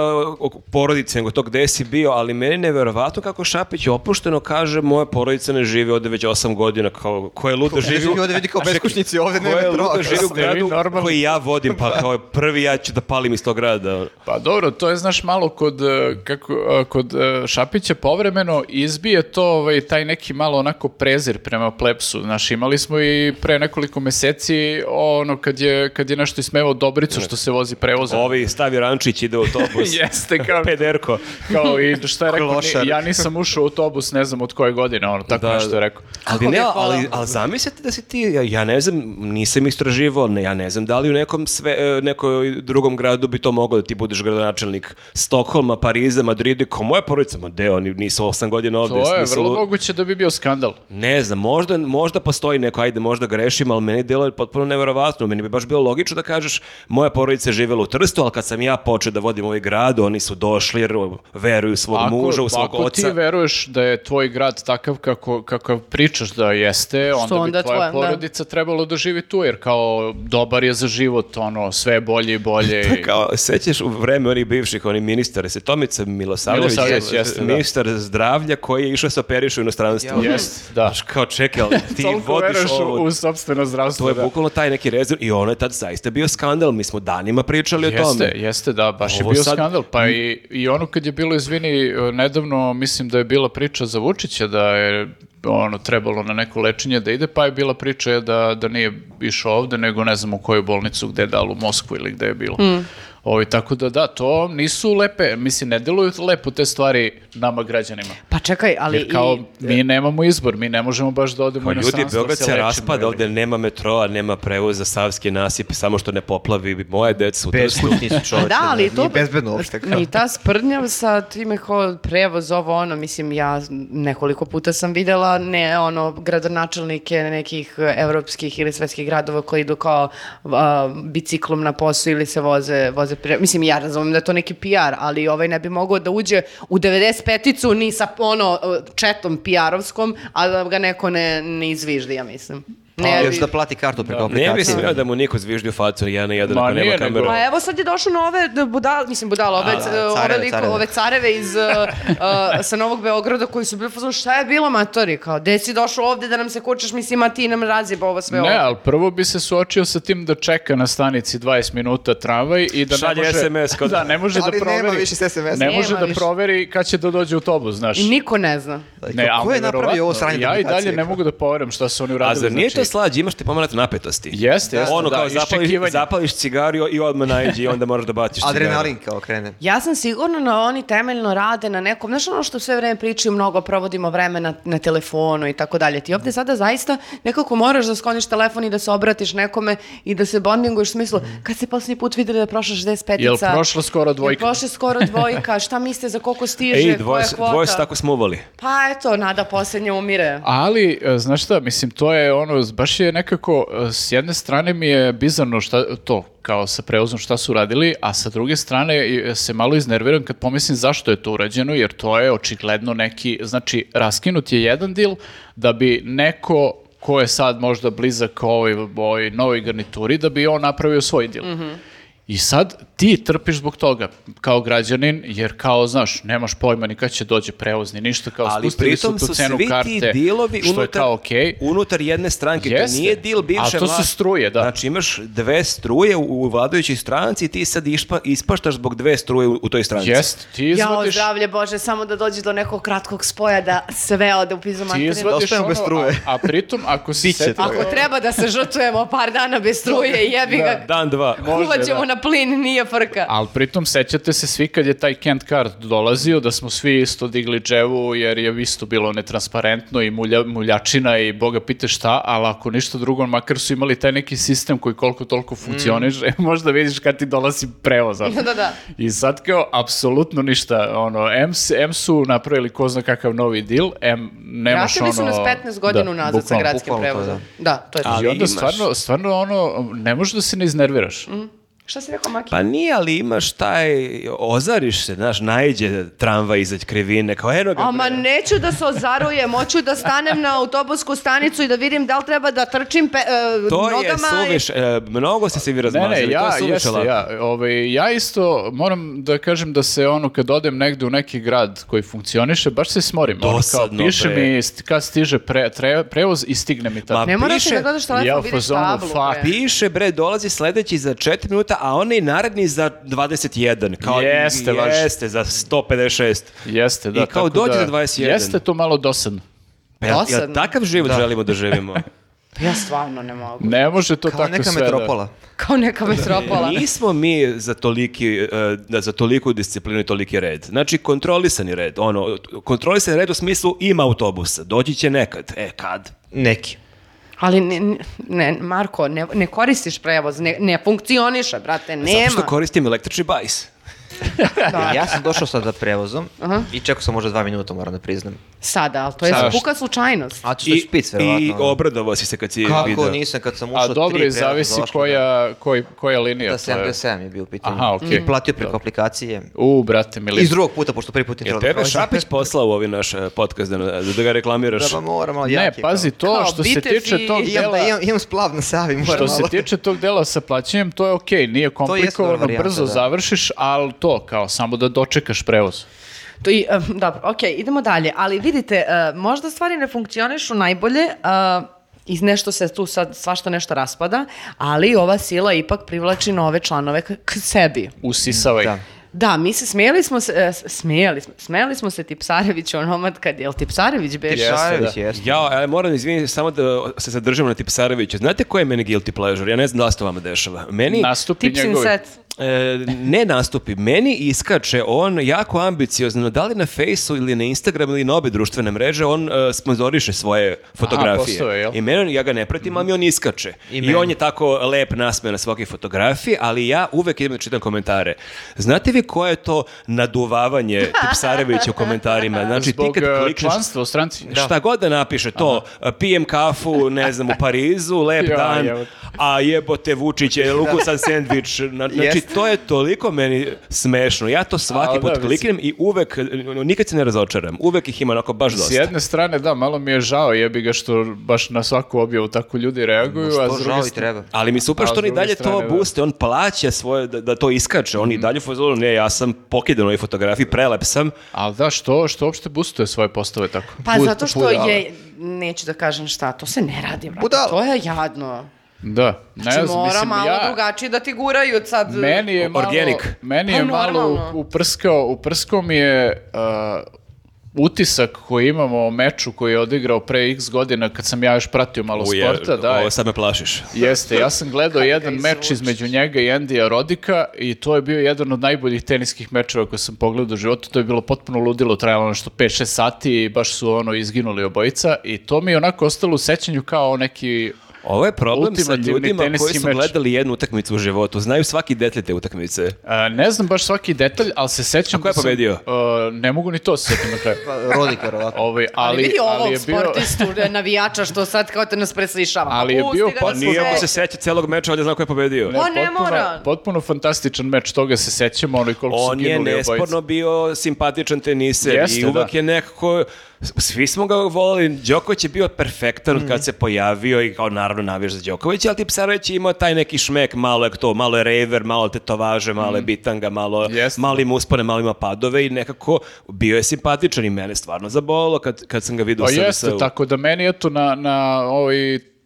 A: o porodici, nego to gde si bio, ali meni je neverovatno kako Šapić opušteno kaže moja porodica ne živi ovde već 8 godina, kao, ko je luda živi u...
D: Živi ovde vidi kao beskućnici, ovde
A: Ko je
D: nema
A: luda
D: troga.
A: živi u
C: Ste vi
A: gradu
C: normalni?
A: koji ja vodim, pa kao prvi ja ću da palim iz tog grada.
C: Pa dobro, to je, znaš, malo kod, eh, kako, eh, kod eh, Šapića povremeno izbije to ovaj, taj neki malo onako prezir prema plepsu. Znaš, imali smo i pre nekoliko meseci ono kad je, kad je nešto ismevao Dobricu što se vozi prevoza.
A: Ovi stavi rančić, ide u autobus.
C: Jeste kao...
A: Pederko.
C: Kao i šta je rekao,
D: Klošar.
C: ni- ja nisam ušao u autobus, ne znam od koje godine, ono, tako
A: Da.
C: nešto je rekao.
A: Ali
B: ga
A: ne,
B: je hvala?
A: ali, ali zamislite da si ti, ja, ja ne znam, nisam istraživao, ne, ja ne znam da li u nekom sve, e, nekoj drugom gradu bi to moglo da ti budeš gradonačelnik Stokholma, Pariza, Madrida, ko moja porodica, ma de, oni nisu 8 godina ovde.
C: To je
A: nisu-
C: vrlo moguće da bi bio skandal.
A: Ne znam, možda, možda postoji neko, ajde, možda grešim, ali meni delo je potpuno neverovatno. Meni bi baš bilo logično da kažeš, moja porodica je živjela u Trstu, ali kad sam ja počeo da vodim ovaj grad, oni su došli jer veruju u svog muža, u svog
C: ako
A: oca.
C: ti veruješ da je tvoj grad takav kako, kakav pričaš da jeste, onda,
B: onda
C: bi tvoja
B: tvoja, da.
C: porodica trebalo da živi tu, jer kao dobar je za život, ono, sve je bolje i bolje. i-
A: Kao, sećaš u vreme onih bivših, oni ministar, se Tomica Milosavljević,
C: Milosavljević, jeste, da.
A: ministar zdravlja koji je išao se operišu u inostranstvu.
C: Jest, da.
A: Znaš, kao čekaj, ali ti
C: Toliko
A: vodiš
C: veruješ u-
A: ovo.
C: u sobstveno
A: To
C: zdravstvo.
A: je
C: da.
A: bukvalno taj neki rezerv i ono je tad zaista bio skandal. Mi smo danima pričali o tome.
C: Jeste, jeste, da, baš
A: Ovo
C: je bio
A: sad-
C: skandal. Pa i, i ono kad je bilo, izvini, e, nedavno mislim da je bila priča za Vučića da je ono trebalo na neko lečenje da ide, pa je bila priča da, da nije išao ovde, nego ne znam u koju bolnicu, gde da, ali u Moskvu ili gde je bilo.
B: Mm.
C: Ovi, tako da da, to nisu lepe, mislim, ne deluju lepo te stvari nama građanima.
B: Pa čekaj, ali
C: Jer kao,
B: i...
C: mi nemamo izbor, mi ne možemo baš da odemo
A: Pa
C: u
A: ljudi,
C: inostranstvo da
A: Beograd
C: se
A: se
C: lečimo,
A: raspada,
C: jel?
A: ovde nema metroa, nema prevoza, savski nasip, samo što ne poplavi moje decu.
D: Bez kućni su
B: Pa
D: čoveče.
B: da, ali to...
D: Nije bezbedno uopšte. kao.
B: I ta sprdnja sa time kao prevoz ovo ono, mislim ja nekoliko puta sam videla ne ono gradonačelnike nekih eh, evropskih ili svetskih gradova koji idu kao a, biciklom na posao ili se voze, voze pre... Mislim ja razumem da je to neki PR, ali ovaj ne bi mogao da uđe u 95-icu ni sa ono eh, četom PR-ovskom, a da ga neko ne, ne izviždi, ja mislim. Ne
D: Još
B: bi-
D: Pa, da plati kartu
A: Ne
D: preko
A: bi
D: aplikacije.
A: smio da mu niko zviždi u facu, ja na jedan
C: Ma,
A: ako nema
C: nije, nego-
A: kameru.
B: Pa evo sad je došlo na ove d- budale, mislim budale, ove, c- e,
D: da,
B: ove,
D: careve,
B: liko-
D: careve.
B: ove careve iz, uh, uh, sa Novog Beograda koji su bili, fazon, šta je bilo matori, kao, gde si došao ovde da nam se kučeš, mislim, a ti nam razjeba ovo sve
C: Ne,
B: ovo.
C: ali prvo bi se suočio sa tim da čeka na stanici 20 minuta tramvaj i da
A: Šalje
C: ne može...
A: SMS kod-
C: Da, ne može da
E: Ali
C: proveri.
E: nema više SMS.
C: Ne
B: Nema
C: može da
B: više.
C: proveri kad će da dođe autobus, znaš.
B: I niko ne zna.
C: Ne,
D: Ko
C: ali
D: je napravio ovo
C: Ja
D: sranje
C: i
D: komunikacije,
C: dalje ne
D: kao?
C: mogu da poverujem šta su oni
A: A
C: uradili.
A: zar nije to
C: znači-
A: slađe, imaš te pomenat napetosti?
C: Jeste, jeste,
A: Ono
C: da,
A: kao zapališ,
C: iščekivanje.
A: zapališ cigario i odmah najđe i onda moraš da baciš cigario.
D: Adrenalin kao krene.
B: Ja sam sigurna da oni temeljno rade na nekom, znaš ono što sve vreme pričaju, mnogo provodimo vremena na telefonu i tako dalje. Ti ovde sada zaista nekako moraš da skloniš telefon i da se obratiš nekome i da se bondinguješ u smislu, kad ste posljednji put videli da je prošla 65-ica?
C: Jel prošla skoro dvojka?
B: Jel prošla skoro dvojka, šta mislite za koliko stiže,
A: Ej,
B: koja
A: dvoje,
B: je
A: su-
B: kvota?
A: dvoje su tako smuvali.
B: Pa eto, nada poslednja umire.
C: Ali, e, znaš šta, mislim, to je ono, baš je nekako, e, s jedne strane mi je bizarno šta, to, kao sa preuzom šta su radili, a sa druge strane i, e, se malo iznerviram kad pomislim zašto je to urađeno, jer to je očigledno neki, znači, raskinut je jedan dil da bi neko ko je sad možda blizak ovoj, ovoj novoj garnituri, da bi on napravio svoj dil. I sad ti trpiš zbog toga kao građanin, jer kao, znaš, nemaš pojma ni kad će dođe prevoz, ni ništa, kao
A: Ali
C: spustili
A: pritom
C: su tu
A: su
C: cenu
A: svi
C: karte,
A: ti dilovi
C: što je
A: unutar,
C: kao okej.
A: unutar jedne stranke.
C: Jeste.
A: To nije dil bivše
C: A to su
A: vlasti.
C: struje, da.
A: Znači imaš dve struje u, u vladajućoj stranci i ti sad išpa, ispaštaš zbog dve struje u, u toj stranci.
C: Jest, ti
B: Jao,
C: izvadiš,
B: zdravlje Bože, samo da dođe do nekog kratkog spoja da sve ode u pizu
C: ti
B: materinu.
C: izvadiš
D: Da
C: ono,
D: ostanemo bez struje.
C: A, a pritom, ako si
D: Biće
C: seti,
D: toga.
B: Ako treba da se žrtvujemo par dana bez struje, jebi ga,
A: Dan, dva.
C: može,
B: kuvat ćemo
C: da.
B: na plin, nije frka.
C: ali pritom sećate se svi kad je taj Kent Card dolazio, da smo svi isto digli dževu, jer je isto bilo netransparentno i mulja, muljačina i boga pite šta, ali ako ništa drugo, makar su imali taj neki sistem koji koliko
A: Mm.
C: toliko funkcioniše, možda vidiš kad ti dolazi prevoz. ono.
B: Da, da, da.
C: I sad kao, apsolutno ništa, ono, M, s- M su napravili ko zna kakav novi deal, M nemaš ono...
B: Vratili su nas 15 godina
C: Da,
B: unazad sa
C: bukvalno.
B: gradskim
D: bukvalno to,
B: prevozom. Da, to je to.
C: I onda
A: imaš-
C: stvarno, stvarno ono, ne možeš da se ne iznerviraš.
B: Mhm. Šta si rekao, Maki?
A: Pa nije, ali imaš taj, ozariš se, znaš, najđe tramvaj izađe krivine, kao eno ga.
B: Ama
A: bre.
B: neću da se ozarujem, hoću da stanem na autobusku stanicu i da vidim da li treba da trčim pe, e,
A: To
B: nogama.
A: je suviš, e, mnogo ste se vi
C: Ne,
A: razmazili,
C: ne, ja,
A: to je suviše
C: jeste,
A: lako.
C: ja, ovaj, ja isto moram da kažem da se ono, kad odem negde u neki grad koji funkcioniše, baš se smorim. Ono,
A: Dosadno,
C: kao, piše
A: bre.
C: mi st- kad stiže pre, tre- prevoz i stigne mi tad.
A: Ma,
B: Ne moraš
A: Piše-
B: da gledaš telefon,
C: Ja u
B: vidiš
C: fazonu,
B: tablu. bre.
C: fuck,
A: Piše, bre, dolazi sledeći za 4 minuta, a onaj naredni za 21. Kao,
C: Jeste, važi.
A: Jeste, za 156.
C: Jeste, da.
A: I kao
C: tako
A: dođe
C: da-
A: do 21.
C: Jeste to malo dosadno.
A: Pa jel- jel
B: Dosadno.
A: takav život želimo da živimo?
B: Ja stvarno ne mogu.
C: Ne može to
D: Kao
C: tako
D: neka
C: sve da-
D: metropola.
B: Kao neka metropola.
A: Nismo mi za, toliki, e, da- za toliku disciplinu i toliki red. Znači, kontrolisani red. Ono, kontrolisani red u smislu ima autobusa. Doći će nekad. E, kad?
D: Neki.
B: Ali ne, ne, Marko, ne, ne koristiš prevoz, ne, ne funkcioniše, brate, nema.
A: Zato što koristim električni bajs.
D: Ja sam došao sada prevozom i čekao sam možda dva minuta, moram da priznam.
B: Sada, ali to je
C: Sada.
B: puka slučajnost.
D: A ti što je špic, verovatno.
A: I
D: ono.
A: obradovao si se kad si
D: Kako
A: video.
D: nisam kad sam ušao
C: A dobro,
D: tri
C: i zavisi
D: prevoza došlo,
C: koja, koji, koja linija
D: Da,
C: to je.
D: 77 je bio u pitanju.
C: Aha, okej.
D: I platio preko aplikacije.
C: U, brate, mili.
D: Iz drugog puta, pošto prvi put je
A: Jel
D: trebalo
A: tebe
D: prođem.
A: Šapić poslao u ovi naš eh, podcast da, da ga reklamiraš?
D: Da, pa moram, ali
C: Ne,
D: jak je
C: pazi,
D: kao.
C: to
B: Kao
C: što se
B: bitev
C: tiče
B: i-
C: tog
B: i-
D: Imam,
C: dela...
D: da, imam, imam splav na Savi, moram
C: Što se
D: malo.
C: tiče tog dela sa plaćanjem, to je okej, nije komplikovano,
D: varijanta,
C: brzo
D: da.
C: završiš, ali to, kao, samo da dočekaš prevoz.
B: To i, em, dobro, ok, idemo dalje. Ali vidite, e, možda stvari ne funkcionišu najbolje, e, i nešto se tu sad svašta nešto raspada, ali ova sila ipak privlači nove članove k, k sebi.
C: Usisavaj.
D: Da.
B: Da, mi se smijeli smo se, e, s- smijeli smo, smijeli smo se Tipsareviću onomad kad je, jel Tipsarević beš?
C: Jeste,
D: Šarević,
C: da.
D: jeste.
A: Ja, ali moram izviniti samo da se zadržimo na Tipsareviću. Znate koji je meni guilty pleasure? Ja ne znam da li se to vama dešava. Meni,
C: Nastupi
B: Tips in
C: njegovi.
B: set.
A: e, ne nastupi, meni iskače on jako ambiciozno, da li na Fejsu ili na Instagram ili na obe društvene mreže, on e, sponzoriše svoje fotografije.
C: postoje, jel?
A: I meni, ja ga ne pratim, ali mi on iskače. I,
D: meni.
A: on je tako lep nasmeo na svake fotografiji, ali ja uvek idem da čitam komentare. Znate vi koje je to naduvavanje Tipsarevića u komentarima? Znači,
C: Zbog
A: ti kad
C: eh,
A: klikneš-
C: članstva u stranci.
A: Šta god da napiše to, pijem kafu, ne znam, u Parizu, lep
C: Ja,
A: dan,
C: jebote.
A: a jebote Vučić je lukusan sandvič. Na- Znači,
D: Jeste.
A: to je toliko meni smešno. Ja to svaki
C: A,
A: put
C: da, mislim.
A: kliknem i uvek, nikad se ne razočaram. Uvek ih ima onako baš
C: S
A: dosta.
C: jedne strane, da, malo mi je žao jebi ga što baš na svaku objavu tako ljudi reaguju, a
D: Što
C: s druge
D: žali
C: strane...
D: treba.
A: Ali mi super
C: A, s
A: što oni
C: druge
A: dalje
C: strane,
A: to
C: da. Mhm.
A: booste, on plaća svoje da, da to iskače, on i dalje u fazonu, ne, ja sam pokidan u ovoj fotografiji, prelep sam.
C: Ali da, što, što uopšte boostuje svoje postave tako?
B: Pa
C: Bud-
B: zato što
C: budala.
B: je, neću da kažem šta, to se ne radi, brate,
D: Budala.
B: to je jadno.
C: Da, ne
B: Znači,
C: znam,
B: mora
C: mislim,
B: malo
C: ja...
B: drugačije da ti guraju od sad.
C: Meni je malo,
A: Organic.
C: meni
B: Pa
C: je malo
B: normalno.
C: u- uprskao, uprskao mi je uh, utisak koji imamo o meču koji je odigrao pre x godina kad sam ja još pratio malo
A: Uje,
C: sporta, da,
A: ovo sad me plašiš.
C: jeste, ja sam gledao jedan
B: izvučeš?
C: meč između njega i Endija Rodika i to je bio jedan od najboljih teniskih mečeva koje sam pogledao u životu, to je bilo potpuno ludilo, trajalo ono nešto 5-6 sati i baš su ono izginuli obojica i to mi je onako ostalo u sećanju kao neki
A: Ovo je problem sa
C: Ultimativni
A: ljudima koji
C: teniski
A: su
C: meč.
A: gledali jednu utakmicu u životu. Znaju svaki detalj te utakmice.
C: A, ne znam baš svaki detalj, ali se sećam...
A: A ko je
C: da sam-
A: pobedio?
C: A, ne mogu ni to se setim na kraju.
D: Pa, Rodik, verovatno.
C: Ovaj,
B: Ali,
C: ali,
B: vidi ovog
C: ali je bio...
B: sportistu, navijača što sad kao te nas preslišava.
C: Ali je
B: Pusti
C: bio
B: ga da
C: pa-
A: Pa
B: se
A: nije ako se
B: sreće.
A: seća celog meča, valjda zna ko je pobedio.
B: Pa Ne, On mora.
C: Potpuno fantastičan meč, toga se sećamo, ono i koliko su
A: On je
C: ginuli pa
A: nesporno
C: obojica.
A: bio simpatičan teniser i
C: Jeste,
A: uvek
C: da.
A: je nekako, svi smo ga volili, Đoković je bio perfektan od kad se pojavio i kao naravno navijaš za Đoković, ali Tipsarević je imao taj neki šmek, malo je to, malo je rever, malo tetovaže, malo je bitanga, malo,
C: Mm. Jeste.
A: malo ima uspone, malo ima padove i nekako bio je simpatičan i mene stvarno zabolo kad, kad sam ga vidio u
C: Pa jeste,
A: SNS-u.
C: tako da meni eto na, na ovaj,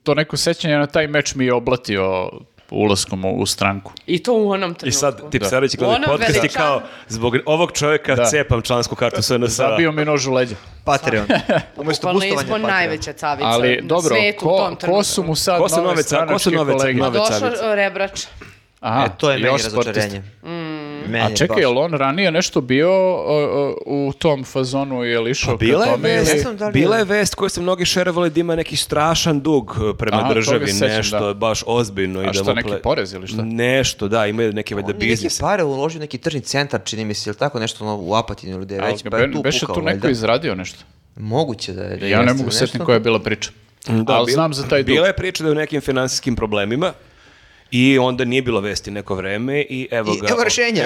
C: to neko sećanje na taj meč mi je oblatio ulaskom u, u stranku.
B: I to u onom
A: I
B: trenutku.
A: sad Tipsarević
B: Da.
A: gleda
B: Ono
A: podcast i
B: veličan-
A: kao, zbog ovog čovjeka
C: Da.
A: cepam člansku kartu SNS-a.
C: Zabio mi nož u leđa.
D: Patreon. Umesto
B: Bukvalno je
D: boostovanja
B: ispod
D: Patreon.
B: najveća cavica
C: Ali
B: na
C: dobro,
B: svetu u
C: ko,
B: tom trenutku.
C: ko su mu sad
A: Ko su
C: nove
A: nove ca- ko su
C: stranačke
A: nove ca-
C: kolege?
B: Pa
A: nove
B: došao
A: cavica?
B: rebrač.
C: Aha,
D: E, to je meni
C: još sportista.
D: razočarenje. Meni
C: A
D: je
C: čekaj,
D: E, baš.
C: je li on ranije nešto bio o, o, u tom fazonu, je li išao
A: Pa Bila
C: ka
A: je
C: tome?
A: vest,
D: Ne
C: ili-
D: znam da li
A: bila
D: je-
A: je vest koju su mnogi šerovali da ima neki strašan dug e, prema
C: Aha, toga
A: državi,
C: se sećam,
A: nešto
C: da.
A: baš ozbiljno. i
C: A
A: da
C: šta,
A: mu
C: neki
A: ple-
C: porez ili šta?
A: Nešto, da, imaju neke valjda
D: On je neke
A: biznise.
D: pare uložio u neki tržni centar, čini mi se, ili tako nešto ono, u Apatinu ili gde je
C: Ali
D: već,
C: ga
D: pa je
C: be-
D: tu
C: beše
D: pukao.
C: tu neko
D: valjda.
C: izradio nešto.
D: Moguće da je. Da
C: Ja ne
D: jeste
C: mogu
D: nešto.
C: setiti koja je bila priča.
A: Da,
C: ali
A: bil-
C: znam za taj dug.
A: Bila je priča da je u nekim financijskim problemima i onda nije bilo vesti neko vreme i evo
D: I,
A: ga.
D: evo rešenja.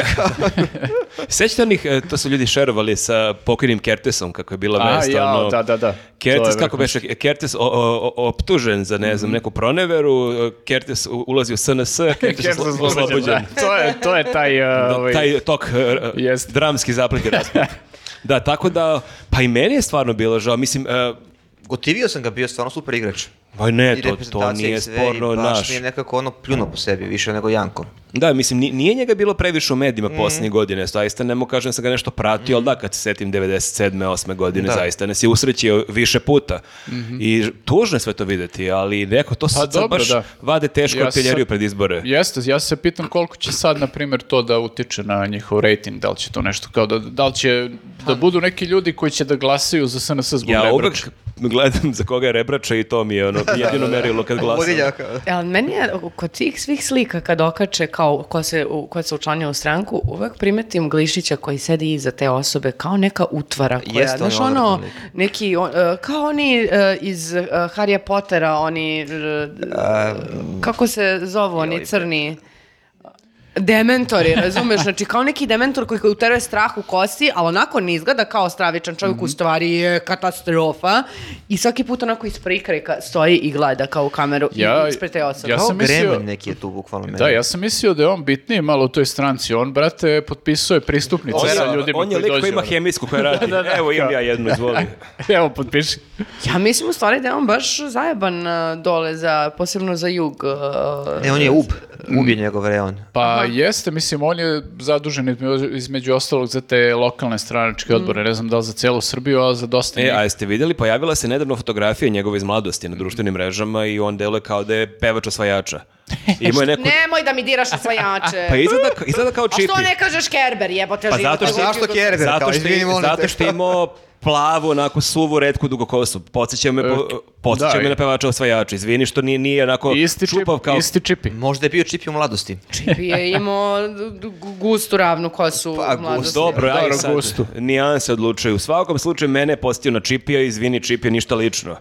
A: Sećate onih, e, to su ljudi šerovali sa pokojnim Kertesom, kako je bila
C: A,
A: vest.
C: jao,
A: ono,
C: da, da, da. To je
A: Kertes, kako
C: vrhunski. Mhm.
A: beše, Kertes o- o- o- optužen za, ne znam, neku proneveru, e, Kertes u- ulazi u SNS, Kertes
C: Kertes
A: oslo-
C: oslobođen,
A: oslobođen.
C: da. to, je, to je taj... uh,
A: Da,
C: ovaj,
A: taj tok e, e,
C: Jeste.
A: dramski zaplet i rasplet. Da, tako da, pa i meni je stvarno bilo žao, mislim, e,
D: Gotivio sam ga, bio je stvarno super igrač.
A: ba ne,
D: I
A: to, to
D: reprezentacija
A: nije
D: i sve, i
A: sporno
D: Baš
A: naš.
D: mi je nekako ono pljuno po sebi, više nego Janko.
A: Da, mislim, ni- nije njega bilo previše u medijima
D: Mhm.
A: posljednjih godine, zaista ne mogu kažem da sam ga nešto pratio, ali da, kad se setim 97. 8. godine,
D: Da.
A: zaista nas je usrećio više puta. I ž- tužno je sve to vidjeti, ali neko to sad, sad
C: Mhm. Pa dobro,
A: baš
C: da.
A: vade teško
C: Ja
A: artiljeriju
C: sad-
A: pred izbore.
C: Jeste, ja se pitam koliko će sad, na primjer, to da utiče na njihov rating, da li će to nešto kao da, da li će da budu neki ljudi koji će da glasaju za SNS zbog
A: Pa- Ja
C: Rebrča.
A: uvek gledam za koga je rebrača i to mi je ono jedino merilo kad
C: Pa
A: glasam.
D: Vodilja kao-
B: Ali meni je kod tih svih slika kad okače kao ko se, u- ko se učlanio u stranku, uvek primetim Glišića koji sedi iza te osobe kao neka utvara koja,
D: Jeste, on je
B: znaš ono,
D: odvratan lik.
B: neki, on- e, kao oni e, iz e, Harry Pottera, oni, e, kako se zovu oni crni? Dementori, razumeš? Znači, kao neki dementor koji utere strah u kosti, ali onako ne izgleda kao stravičan čovjek, u stvari je katastrofa. I svaki put onako iz prikrajka stoji i gleda kao u kameru
C: Ja-
B: i ispred te osobe.
C: ja
D: Kao
C: sam mislio-
D: Gremlin neki je tu bukvalno meni.
C: Da, ja sam mislio da je on bitniji malo u toj stranci. On, brate, potpisao je pristupnice
A: On
C: sa
A: je,
C: ljudima
A: on je
C: koji
A: lik
C: dođu.
A: koji ono. ima hemijsku koja radi. Evo imam ja jednu, izvoli.
C: Evo, potpiši.
B: Ja mislim u stvari da je on baš zajeban e, dole, za, posebno za jug. e,
D: Ne, on je ub. Ub je njegov reon.
C: Pa jeste, mislim, on je zadužen između, između ostalog za te lokalne
B: Mm.
C: stranačke odbore. Ne znam da li za celu Srbiju, ali za dosta
A: E,
C: njih.
A: a jeste vidjeli, pojavila se nedavno fotografija njegove iz mladosti na društvenim mrežama i on deluje kao da je pevač osvajača. Imao je neku...
B: Nemoj da mi diraš osvajače.
A: Pa izgleda, ka- izgleda kao
B: A što
A: čipi.
B: ne kažeš Kerber, jebote
A: Pa
B: život,
A: zato što-
B: nego-
D: Zašto Kerber?
A: Zato
D: Kao,
A: što,
D: izvini, molim
A: zato
D: te,
A: što je imao plavu, onako suvu, redku, dugokosu. Podseća me, po, podsjeća
C: da,
A: me
C: i-
A: na pevača osvajača. Izvini što nije, nije onako
C: Isti, čip,
A: čupav kao... Mm.
C: isti čipi.
D: Možda je bio čipi u mladosti.
B: Čipi je imao d- d- gustu ravnu kosu
D: Pa,
B: u mladosti.
A: Dobro, ja
C: Dobro,
A: sad
C: gustu.
A: nijanse odlučuju. U svakom slučaju mene je postio na Čipija, izvini Čipija, ništa lično.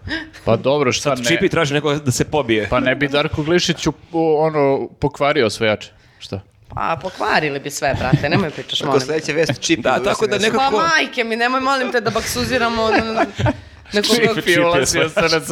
C: Pa dobro, šta ne?
A: Čipi traži nekoga da se pobije.
C: Pa ne bi Darko Glišić u- u- ono, pokvario osvajače. Šta?
B: Pa pokvarili bi sve, brate, nemoj pričaš,
D: Tako
B: molim. te.
D: sledeća vest čipi.
A: Da, tako da nekako-
B: Pa
A: Kako?
B: majke mi, nemoj molim te da baksuziramo na- na- nekog
C: Čipi
A: je
C: ulazio SNS.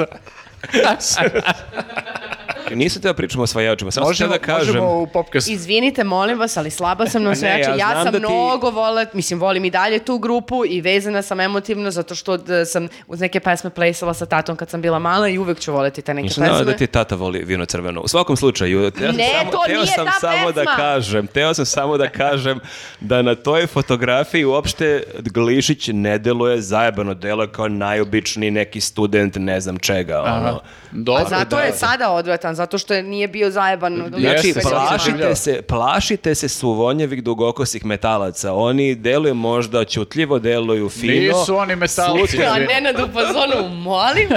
A: Nisam teo pričamo o osvajačima, samo sam teo
C: Možemo,
A: da kažem.
C: možemo u popkastu.
B: Izvinite, molim vas, ali slaba sam na osvajače.
A: ja
B: Ja,
A: znam
B: sam
A: da ti-
B: mnogo vola, mislim, volim i dalje tu grupu i vezana sam emotivno zato što d- sam uz neke pesme plesala sa tatom kad sam bila mala i uvek ću voleti te neke
A: Nisam
B: pesme.
A: znao da ti tata voli vino crveno. U svakom slučaju, teo sam
B: Ne,
A: samo,
B: to
A: teo
B: nije
A: sam
B: ta
A: samo da
B: pesma.
A: kažem, teo sam samo da kažem da na toj fotografiji uopšte Glišić ne deluje zajebano, deluje kao najobičniji neki student ne znam čega. Ono.
C: Dobro,
B: A zato
C: da.
B: je sada odvratan, zato što je nije bio zajeban. u-
A: Znači,
C: Jeste,
B: u-
A: plašite
C: doživljava.
A: se, plašite se suvonjevih dugokosih metalaca. Oni deluju možda ćutljivo, deluju fino.
C: Nisu oni metalci.
A: Sluti-
B: Ja, Nenad u fazonu, molim.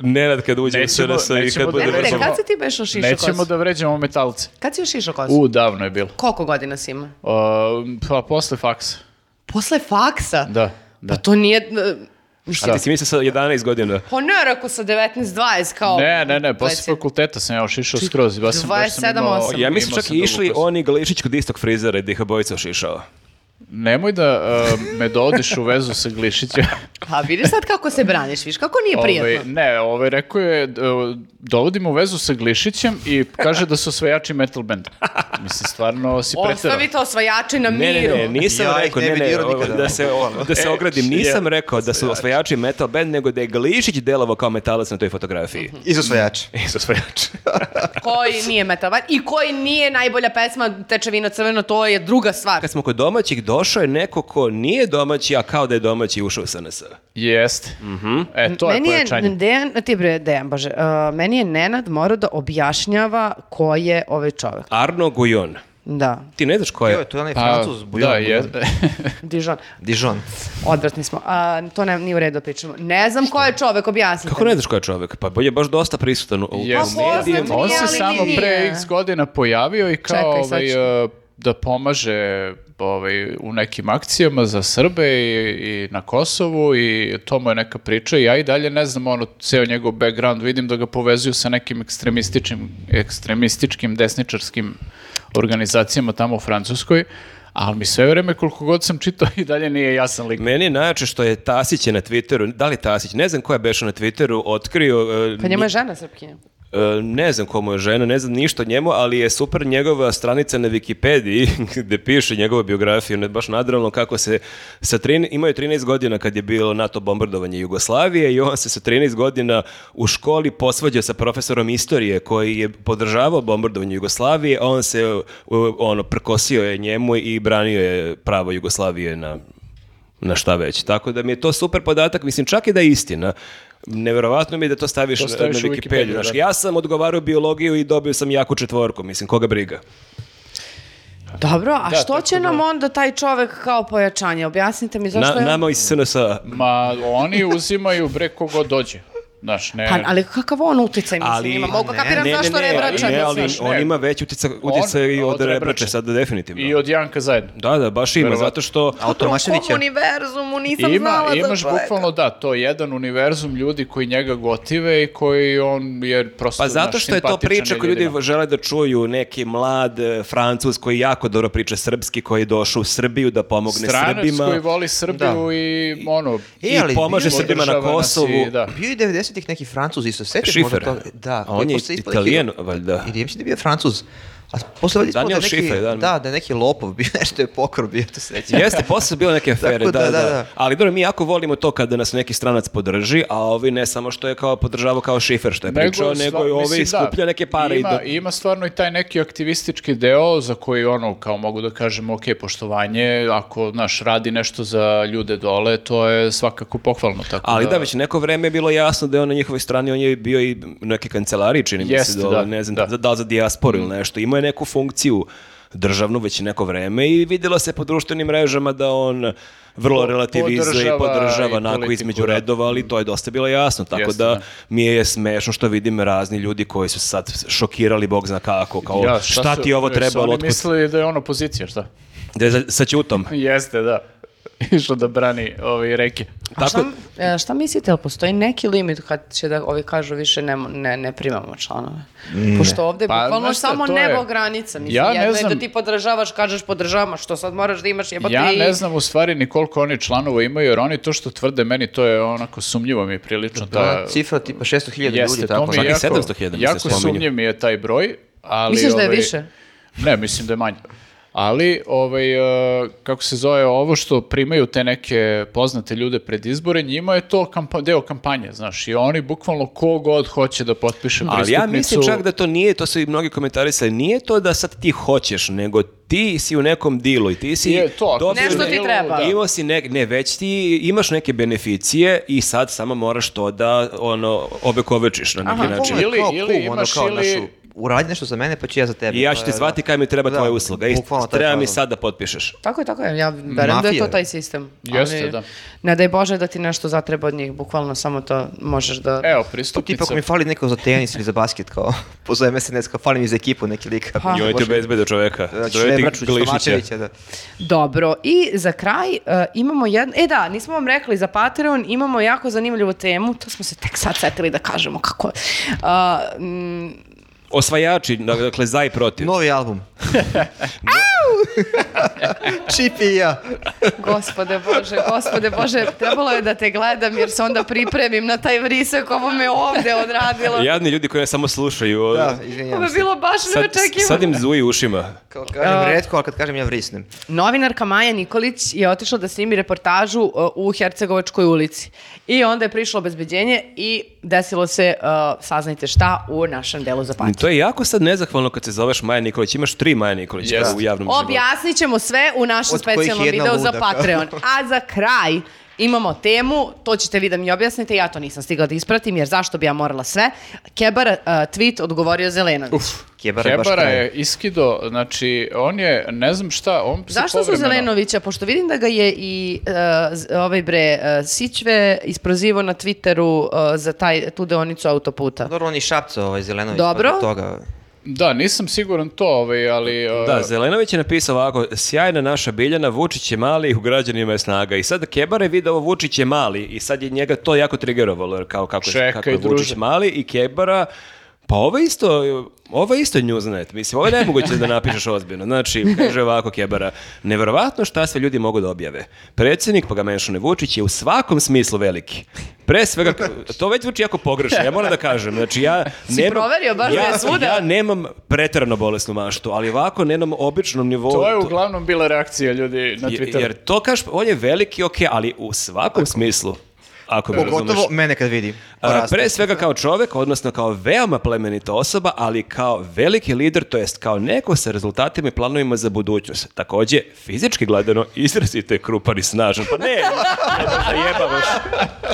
A: Nenad kad uđe u
C: Nećemo-
A: SNS i
C: nećemo
A: kad
C: da
A: bude
B: Nenade,
C: Nećemo-
A: razgovor.
B: kad si ti bešao šišo
C: Nećemo
B: kosu?
C: da vređamo metalce.
B: Kad si još šišo kosu?
C: U, davno je bilo.
B: Koliko godina si ima?
C: Uh, pa posle faksa.
B: Posle faksa?
C: Da, da.
B: Pa to nije...
A: A ti si mislio sa 11 godina.
B: Pa ne, rekao sa 19-20 kao...
C: Ne, ne, ne, posle
B: Dvadeset-
C: fakulteta sam ja ošišao skroz. Ja sam, baš sam
B: 27,
C: imao-
B: osam.
A: Ja mislim
C: imao
A: čak
C: sam
A: i išli
C: dugu kosu.
A: oni Glišić kod istog frizera i da ih obojica ošišao.
C: Nemoj da uh, me dovodiš u vezu sa Glišićem.
B: Pa vidi sad kako se braniš, viš, kako nije
C: Ovaj,
B: prijatno.
C: ne, ovaj rekao je, d- dovodim u vezu sa Glišićem i kaže da su osvajači metal band. Mislim, stvarno si preterao.
B: Ostavite osvajači na
A: Ne, ne,
B: miru.
A: ne, nisam
D: Ja ih
A: rekao,
D: ne
A: ne,
D: bi
A: ne,
D: dirao
A: o-
D: nikada, Ono, e,
A: da se, o- da se ogradim, nisam rekao da su osvajači metal band, nego da je Glišić delovao kao metalac na toj fotografiji.
D: Iz osvajača.
C: Pa
A: Iz osvajača.
B: Koji nije metal band i koji nije najbolja pesma Tečevino crveno, to je druga stvar.
A: Kad smo kod domaćih, došao je neko ko nije domaći, a kao da je domaći i ušao u SNS.
C: Jeste. E, to je
B: meni
C: pojačanje.
B: je Dejan, ti bre, Dejan, bože, uh, meni je Nenad morao da objašnjava ko je ovaj čovjek.
A: Arno Gujon.
B: Da,
A: Ti ne znaš ko
D: To
A: je?
D: je to je onaj
C: Pa,
D: francuz. Bujon,
C: da, je,
B: Dižan,
D: Dijon.
B: odvratni smo. A, to ne, nije u redu da pričamo. Ne znam ko je čovjek, objasnite.
A: Kako ne znaš ko je čovjek? Pa je baš dosta prisutan u, u
C: Jeste.
B: Pa poznat
A: medijima.
B: mi je,
C: On se
B: ali
C: samo
B: nije.
C: pre x godina pojavio i kao
B: Čekaj, sad ću.
C: ovaj, e, da pomaže ovaj, u nekim akcijama za Srbe i, i na Kosovu i to mu je neka priča i ja i dalje ne znam ono ceo njegov background, vidim da ga povezuju sa nekim ekstremističkim, ekstremističkim desničarskim organizacijama tamo u Francuskoj, ali mi sve vreme koliko god sam čitao i dalje nije jasan lik.
A: Meni je najjače što je Tasić je na Twitteru, da li Tasić, ne znam ko je beša na Twitteru, otkrio... e,
B: Pa njemu je žena srpkinja.
A: E, ne znam komu je žena, ne znam ništa o njemu, ali je super njegova stranica na Wikipediji gde piše njegovu biografiju, ne, baš nadralno kako se sa 13 imao je 13 godina kad je bilo NATO bombardovanje Jugoslavije i on se sa 13 godina u školi posvađao sa profesorom istorije koji je podržavao bombardovanje Jugoslavije, a on se u- ono prkosio je njemu i branio je pravo Jugoslavije na na šta već. Tako da mi je to super podatak, mislim čak i da je istina. Neverovatno mi je da to staviš,
C: To staviš
A: na, na
C: u
A: Wikipediju.
C: Wikipediju,
A: znaš,
C: da.
A: ja sam odgovarao biologiju i dobio sam jaku četvorku, mislim, koga briga.
B: Dobro, a
C: Da,
B: što
C: tako
B: će
C: da-
B: nam onda taj čovek kao pojačanje? Objasnite mi zašto
A: Na,
B: je...
A: nama iz SNS-a.
C: Ma oni uzimaju bre kogo dođe. Znaš, ne.
B: Pa, ali kakav on uticaj mislim
A: Ali-
B: ima? Mogu
A: Ne,
B: kapiram zašto Rebrača.
C: E. ne,
A: ne,
C: da
A: ali
C: znaš,
A: on
C: ne.
A: ima već utica, utica i od,
C: od Rebrače.
A: Rebrače, sad definitivno.
C: I od Janka zajedno.
A: Da, da, baš ima,
C: Verovatno.
A: zato što...
D: A od Tomaševića?
B: univerzumu nisam
C: Ima,
B: znala Pa
C: imaš
B: za čoveka.
C: bukvalno da, to je jedan univerzum ljudi koji njega gotive i koji on je prosto
A: Pa zato
C: znaš,
A: što je to
C: simpatičan
A: priča koju ljudi
C: ljudima.
A: žele da čuju, neki mlad e, Francuz koji jako dobro priča srpski, koji je došao u Srbiju da pomogne
C: Stranac
A: Srbima.
C: koji voli Srbiju
D: Da.
C: i ono...
A: I
D: ali
A: pomaže
D: bio je-
A: Srbima na
C: podržava nas i-
A: Kosovu.
C: da.
D: Bio je 90-ih neki francuz, isto setiš
A: Schiffer.
D: možda to- Da,
A: A
D: koji
A: on je
D: posle ispod neki-
A: italijan, valjda.
D: Ili je mislim da je bio francuz. A posle valjda ispod da
A: Daniel
D: neki...
A: Schiffer, da.
D: da. da, je neki lopov bio, nešto je pokor bio, to se neće.
A: Jeste, posle bilo neke afere,
D: Tako
A: da, da,
D: da, da, da.
A: Ali dobro, mi jako volimo to kada nas neki stranac podrži, a ovi ne samo što je kao podržavao kao šifer što je pričao, nego,
C: sva-
A: i ovi
C: mislim, da,
A: skuplja neke pare. i
C: ima,
A: do-
C: ima stvarno i taj neki aktivistički deo za koji ono, kao mogu da kažem, ok, poštovanje, ako, znaš, radi nešto za ljude dole, to je svakako pohvalno. Tako
A: Ali da, već neko vreme je bilo jasno da je on na njihovoj strani, on je bio i u neke kancelariji, čini mi se,
C: Jeste,
A: da,
C: da,
A: ne znam,
C: da. Mm.
A: da. da li za dijasporu ili nešto. Imao je neku funkciju državnu već neko vreme i vidjelo se po društvenim mrežama da on vrlo
C: Po-
A: relativizuje i
C: podržava
A: podržava
C: i
A: onako
C: politiku,
A: između
C: da.
A: redova, ali to je dosta bilo jasno, tako
C: Jeste,
A: da
C: da.
A: mi je smešno što vidim razni ljudi koji su sad šokirali, bog zna kako, kao
C: Ja,
A: šta,
C: su-
A: ti ovo
C: jesu
A: trebalo,
C: Oni
A: otkud,
C: mislili da je ono pozicija, šta?
A: da je za- sa ćutom.
C: Jeste, da. Išao da brani ove reke.
B: A šta,
A: Tako,
B: e, šta mislite, jel postoji neki limit kad će da ovi kažu više ne, ne, ne primamo članove? Pošto ovde je
C: Pa,
B: bukvalno
C: znaš šta,
B: samo
C: to je-
B: nebo granica. Mislim,
C: Ja ne
B: jedno je
C: znam.
B: da ti podržavaš, kažeš podržavam, a što sad moraš da imaš jebati?
C: Ja ne znam u stvari ni koliko oni članova imaju, jer oni to što tvrde meni, to je onako sumnjivo mi je prilično.
D: Da,
C: Ta,
D: cifra tipa 600.000
C: Jeste,
D: ljudi,
C: to
D: tako
C: mi je
A: Čak i
C: jako,
A: 700.000 mi se
C: jako
A: spominje.
C: sumnjiv mi je taj broj. Ali,
B: Misliš da je
C: ovaj,
B: više?
C: Ne, mislim da je manje. Ali, ovaj, e, kako se zove, ovo što primaju te neke poznate ljude pred izbore, njima je to kampa- deo kampanje, znaš, i oni bukvalno kogod hoće da potpiše
A: Ali
C: pristupnicu.
A: ja mislim čak da to nije, to su i mnogi komentarisali, nije to da sad ti hoćeš, nego ti si u nekom dilu i ti si...
C: Je, to, ako
A: dobio
B: Nešto
A: ne-
B: ti treba. da.
A: Imao si nek- ne, već ti imaš neke beneficije i sad samo moraš to da ono, obekovečiš na neki
B: Aha,
A: način.
C: Ili-
D: Ili, Pa, kao
C: ili
D: ili
C: imaš
D: kao,
C: ili-
D: našu, uradi nešto za mene, pa ću ja za tebe.
A: I ja
D: To
A: ću ti
D: je, ono.
A: zvati kaj mi treba
D: Da,
A: tvoja usluga. I
D: bukvalno to je ono.
A: treba mi
D: fazon.
A: sad da potpišeš.
B: Tako je, tako je. Ja verujem da je to
D: Mafija.
B: taj sistem.
C: Jeste,
B: Ali
C: da.
B: Ne daj Bože da ti nešto zatreba od njih. Bukvalno samo to možeš da...
C: Evo,
D: To tipa
C: pristupnica.
D: ako mi fali neko za tenis ili za basket, kao, pozove me se kao, fali mi za ekipu neki lik.
B: Pa.
A: I oni te obezbede čoveka.
D: Znači,
A: Zove ti
D: Šebraču,
A: Glišića.
D: Stomačevića, da.
B: Dobro, i za kraj e, imamo jednu, e da, nismo vam rekli za Patreon, imamo jako zanimljivu temu, to smo se tek sad setili da kažemo kako. A, mm,
A: Osvajači, dakle, za i protiv.
D: Novi album. Čipi i ja.
B: gospode Bože, gospode Bože, trebalo je da te gledam jer se onda pripremim na taj vrisak, ovo me ovde odradilo.
A: Jadni ljudi koji nas samo slušaju.
D: Da,
B: Ovo
D: izvinjam
B: je
D: se.
B: bilo baš
A: Sad,
B: neočekivano.
A: sad im zuji ušima.
D: Kao kažem redko, ali kad kažem ja vrisnem.
B: Novinarka Maja Nikolić je otišla da snimi reportažu uh, u Hercegovačkoj ulici. I onda je prišlo obezbeđenje i desilo se, uh, saznajte šta, u našem delu za Patreon.
A: To je jako sad nezahvalno kad se zoveš Maja Nikolić. Imaš tri Maja Nikolić
C: Jeste.
A: u javnom životu.
B: Objasnit ćemo sve u našem
D: Od kojih
B: specijalnom
D: jedna
B: videu za
D: luda.
B: Patreon. A za kraj imamo temu, to ćete vi da mi objasnite, ja to nisam stigla da ispratim, jer zašto bi ja morala sve. Kebara uh, tweet odgovorio Zelenović.
D: Kebara, je baš
C: Kebara
D: kraj.
C: je iskido, znači, on je, ne znam šta, on se
B: Zašto su
C: povremeno-
B: Zelenovića, pošto vidim da ga je i uh, z- ovaj bre uh, Sićve isprozivao na Twitteru uh, za taj, tu deonicu autoputa.
D: Dobro, on je Šapco, ovaj Zelenović.
B: Dobro.
D: pa zbog Toga.
C: Da, nisam siguran to, ovaj, ali... e,
A: Da, Zelenović je napisao ovako, sjajna naša Biljana, Vučić je mali, u građanima je snaga. I sad Kebara je video Vučić je mali i sad je njega to jako trigerovalo, jer kao kako, je-
C: Čekaj,
A: kako je Vučić
C: druže.
A: mali i Kebara, pa ovo je isto, ovo je isto Newsnet, mislim, ovo je nemoguće da napišeš ozbiljno. Znači, kaže ovako Kebara, neverovatno šta sve ljudi mogu da objave. Predsjednik, pa ga menšane Vučić, je u svakom smislu veliki. Pre svega, to već zvuči jako pogrešno, ja moram da kažem. Znači, ja
B: Si proverio baš da je svuda?
A: ja nemam preterano bolesnu maštu, ali ovako na jednom običnom nivou...
C: To je
A: to-
C: uglavnom bila reakcija ljudi na
A: je-
C: Twitteru.
A: Jer to kaš, on je veliki, ok, ali u svakom smislu. ako me razumeš.
D: Pogotovo mene kad vidi.
A: A,
D: Poraste.
A: pre svega kao čovek, odnosno kao veoma plemenita osoba, ali kao veliki lider, to jest kao neko sa rezultatima i planovima za budućnost. Takođe, fizički gledano, izrazite krupan i snažan. Pa ne, zajebavaš.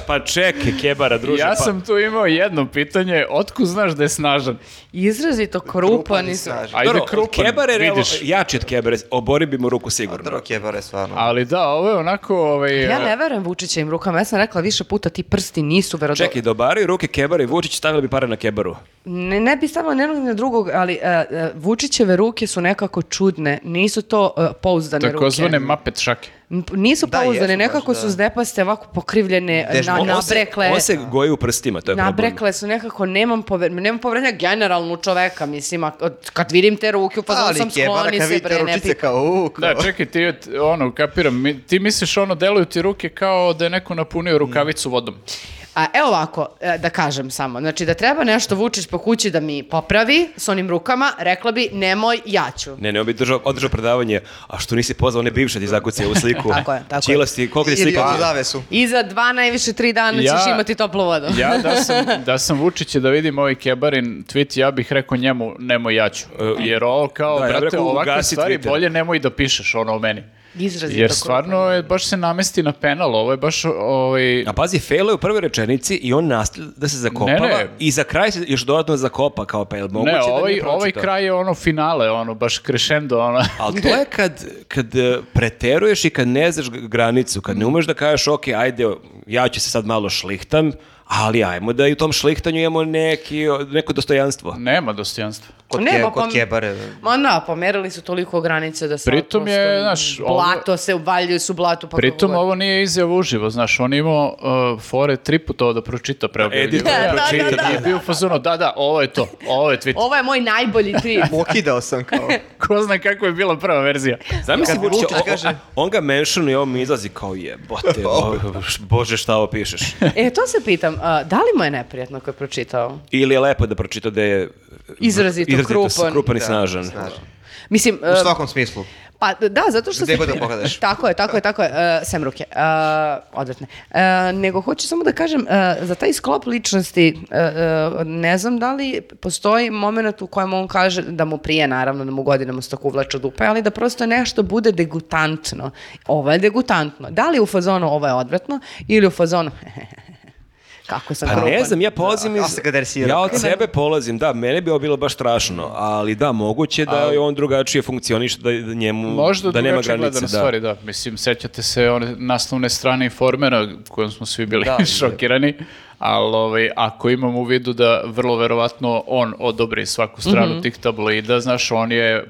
A: Pa čekaj, kebara, druže.
C: ja
A: pa-
C: sam tu imao jedno pitanje, otku znaš da je snažan?
B: Izrazito krupan i
D: i
B: sve.
D: snažan.
C: Ajde,
A: Dobro,
C: krupan,
A: Kebar Ono, je realno
C: vidiš.
A: jači od kebare, obori bi mu ruku sigurno.
D: Drvo kebare, stvarno.
C: Ali da, ovo je onako... Ovaj,
B: Ja ne verujem Vučićevim rukama, ja sam rekla više puta ti prsti nisu verodostojni.
A: Čekaj, dobaraju ruke Kebara i Vučić stavili bi pare na Kebaru.
B: Ne, ne bi stavila jednog na drugog, ali e, e, Vučićeve ruke su nekako čudne, nisu to e, pouzdane
C: Takozvane
B: ruke.
C: Muppet šake.
B: M- Nisu
D: Da,
B: pouzdane,
D: jesu baš,
B: nekako
D: da.
B: su zdepaste, ovako pokrivljene, e,
D: Dež-
B: na,
D: On-
A: On se-
B: nabrekle.
A: On se goji u prstima, to je problem.
B: Nabrekle su nekako, nemam, pover, nemam poverenja generalno u čoveka, mislim, a, od- kad vidim te ruke, upozno
D: Ali
B: Pa sam
D: kebara
B: skloni
D: kad
B: se,
D: vidite
B: bre, ne
D: ručice
B: pik.
D: kao u, kao-
C: Da, čekaj, ti, ono, kapiram, mi- ti misliš ono, deluju ti ruke kao da je neko napunio rukavicu vodom.
B: A, evo ovako, e, da kažem samo, znači da treba nešto Vučić po kući da mi popravi s onim rukama, rekla bi nemoj, ja ću.
A: Ne, ne, on bi držao, održao predavanje, a što nisi pozvao one bivše ti zakucije u sliku.
B: Tako je, tako je.
A: Čilasti, koliko ti
D: Ili
A: slika?
D: onu zavesu.
B: I za dva, najviše tri dana
C: Ja-
B: ćeš imati toplu vodu.
C: Ja da sam, da sam Vučić i da vidim ovaj Kebarin tweet, ja bih rekao njemu nemoj ja ću. Jer ovo kao,
A: E, Da, ja bih
C: brate,
A: rekao,
C: ovakve
A: ugasi
C: stvari
A: Twitter.
C: bolje nemoj da pišeš ono o meni.
B: Izrazito
C: Jer
B: krupan.
C: stvarno je, baš se namesti na penal, ovo je baš ovaj...
A: A pazi, failo je u prvoj rečenici i on nastavlja da se zakopava
C: Ne, ne.
A: i za kraj se još dodatno zakopa, kao pa je li moguće
C: Ne,
A: da
C: ovaj,
A: nije
C: ovaj
A: pročitao?
C: kraj je ono finale, ono, baš crescendo, ono.
A: Ali to je kad, kad e, preteruješ i kad ne znaš g- granicu, kad ne umeš da kažeš, ok, ajde, ja ću se sad malo šlihtam, ali ajmo da i u tom šlihtanju imamo neki, o, neko dostojanstvo.
C: Nema dostojanstva.
D: Kod,
B: Ne,
D: ke-
B: pa
D: kod
B: pom-
D: kebare.
B: Ma da, pomerili su toliko granice da sad
C: Pritom je,
B: prosto
C: znaš, ovo-
B: blato se uvaljuju su blato pa
C: Pritom
B: kako god.
C: ovo nije izjava uživo, znaš, on je imao uh, fore tri puta ovo da pročita pre
A: Edit.
C: objavljivanja.
B: Da, da,
C: pročita,
B: da, da.
C: nije bio u fazonu, da, da, ovo je to, ovo je tweet.
B: Ovo je moj najbolji tri.
D: Pokidao sam kao.
C: Ko zna kako je bila prva verzija.
A: Zamisli
D: Kad
A: Vučića,
D: Vučić
A: o- o-
D: kaže-
A: on ga menšanu i on mi izlazi kao jebote, o, bože šta ovo pišeš.
B: e, to se pitam, a, da li mu je neprijatno ko je pročitao?
A: Ili je lepo da pročita da je
B: Izrazito krupan.
A: i snažan.
D: Snažan.
B: Mislim,
D: U
B: e,
D: svakom smislu.
B: pa da, zato što...
D: Gde
B: se-
D: god da pogledaš.
B: tako je, tako je, tako je, e, sem ruke, e, odvratne. E, nego hoću samo da kažem, e, za taj sklop ličnosti, e, e, ne znam da li postoji moment u kojem on kaže da mu prije, naravno, da mu godinama se tako uvlače u dupe, ali da prosto nešto bude degutantno. Ovo je degutantno. Da li u fazonu ovo je odvratno ili u fazonu... Kako sam
A: Pa ne
B: krupan.
A: znam, ja polazim
D: Da,
A: iz...
D: ali se ga dresira.
A: Ja od sebe polazim, da, mene bi ovo bilo baš strašno, ali da, moguće da je on drugačije funkcioniše, da, da njemu,
C: Možda
A: da nema
C: drugačije gleda
A: granice. Da.
C: na stvari, da. Mislim, sećate se one naslovne strane informera kojom smo svi bili
D: Da,
C: šokirani, ali ovaj, ako imam u vidu da vrlo verovatno on odobri svaku stranu tih tabloida, znaš, on je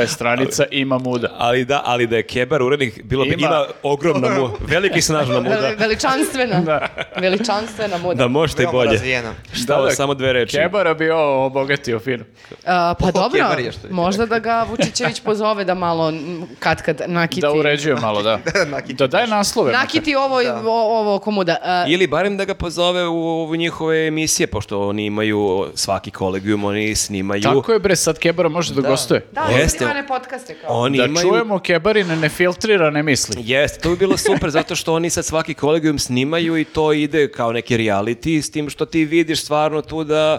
C: je stranica ima muda.
A: Mhm. Ali da, ali da je Kebar urednik, bilo bi,
C: Ima-
A: ima, ogromna mu, veliki i snažna mu, da,
B: Veli- Veličanstvena. Veličanstvena moda.
A: da možete i
D: Veoma
A: bolje.
D: razvijena.
A: Šta,
C: Da, da,
A: samo dve reči.
C: Kebara bi ovo obogatio fino.
B: A, pa
D: O,
B: dobro,
D: kebar je što bi
B: možda da ga Vučićević pozove da malo m, kad kad nakiti.
C: Da uređuje malo, da.
D: Nakiti
C: da daje naslove. makar.
B: Nakiti ovo, i o- ovo komuda. A,
A: Ili barem da ga pozove u, u njihove emisije, pošto oni imaju svaki kolegijum, oni snimaju.
C: Tako je bre, sad Kebara može da, gostuje.
B: da, oni
A: Jeste.
B: snimane podcaste kao.
A: Oni
C: Da
A: imaju...
C: čujemo Kebarine nefiltrirane misli.
A: Jeste, to bi bilo super, zato što oni sad svaki kolegijum snimaju i to ide kao neki reality, s tim što ti vidiš stvarno tu da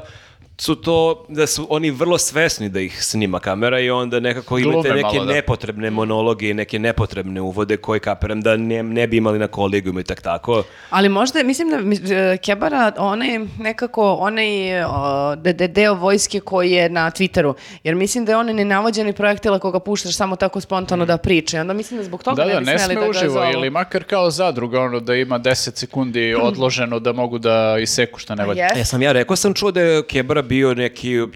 A: su to, da su oni vrlo svesni da ih snima kamera i onda nekako imate
C: Glume
A: neke
C: malo, da.
A: nepotrebne monologe i neke nepotrebne uvode koje kapiram da ne, ne bi imali na kolegijumu i tak tako.
B: Ali možda, mislim da mi- e, Kebara, onaj nekako, onaj o, de, de- deo vojske koji je na Twitteru, jer mislim da je on nenavođeni projektil ako ga puštaš samo tako spontano da priča. I onda mislim da zbog toga
C: Mm. Da, da,
B: ne bi
C: ne
B: smeli da
C: sme
B: ga
C: uživo,
B: zovu.
C: ili makar kao zadruga, ono da ima 10 sekundi odloženo da mogu da iseku šta ne valja.
B: Jeste.
A: E, sam ja rekao sam čuo da je Kebra bio neki, m,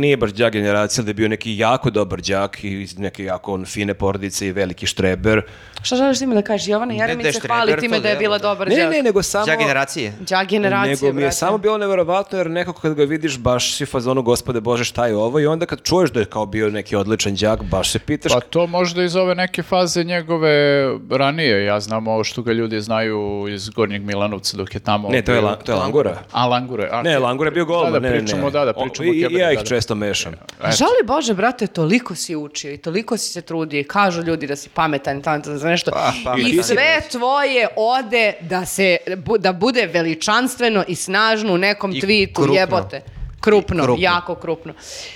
A: nije baš đak generacija, da je bio neki jako dobar đak i iz neke jako on, fine porodice i veliki štreber.
B: Šta želiš time da kažeš? Jovana
D: da je
B: Jeremić se
D: štreber,
B: hvali
D: to
B: time da je
D: da,
B: bila
D: da.
B: dobar
A: Ne,
B: đak.
A: ne, nego samo...
D: Ja generacije.
B: Đak generacije,
A: Nego mi je
B: brate.
A: samo bilo neverovatno jer nekako kad ga vidiš baš si u fazonu gospode bože šta je ovo i onda kad čuješ da je kao bio neki odličan đak baš se pitaš
C: Pa to možda iz ove neke faze njegove ranije, ja znam ovo što ga ljudi znaju iz Gornjeg Milanovca dok je tamo...
A: ne to je,
C: bio-
A: la, to je Langura.
C: A, Langure. A,
A: Ne, Langura je bio golman,
C: Da,
A: ne, ne, ne,
C: pričamo pričamo, da, da, pričamo
A: o,
C: o
A: i- i
C: kebabima,
A: ja
C: da,
A: ih
C: da.
A: često mešam.
B: Žali Bože, brate, toliko si učio i toliko si se trudio i kažu ljudi da si pametan, talentan za nešto.
D: Pa, pametan
B: I
D: si.
B: sve tvoje ode da, se, bu- da bude veličanstveno i snažno u nekom
D: I
B: tweetu,
D: krupno.
B: jebote. Krupno,
D: I krupno.
B: jako krupno.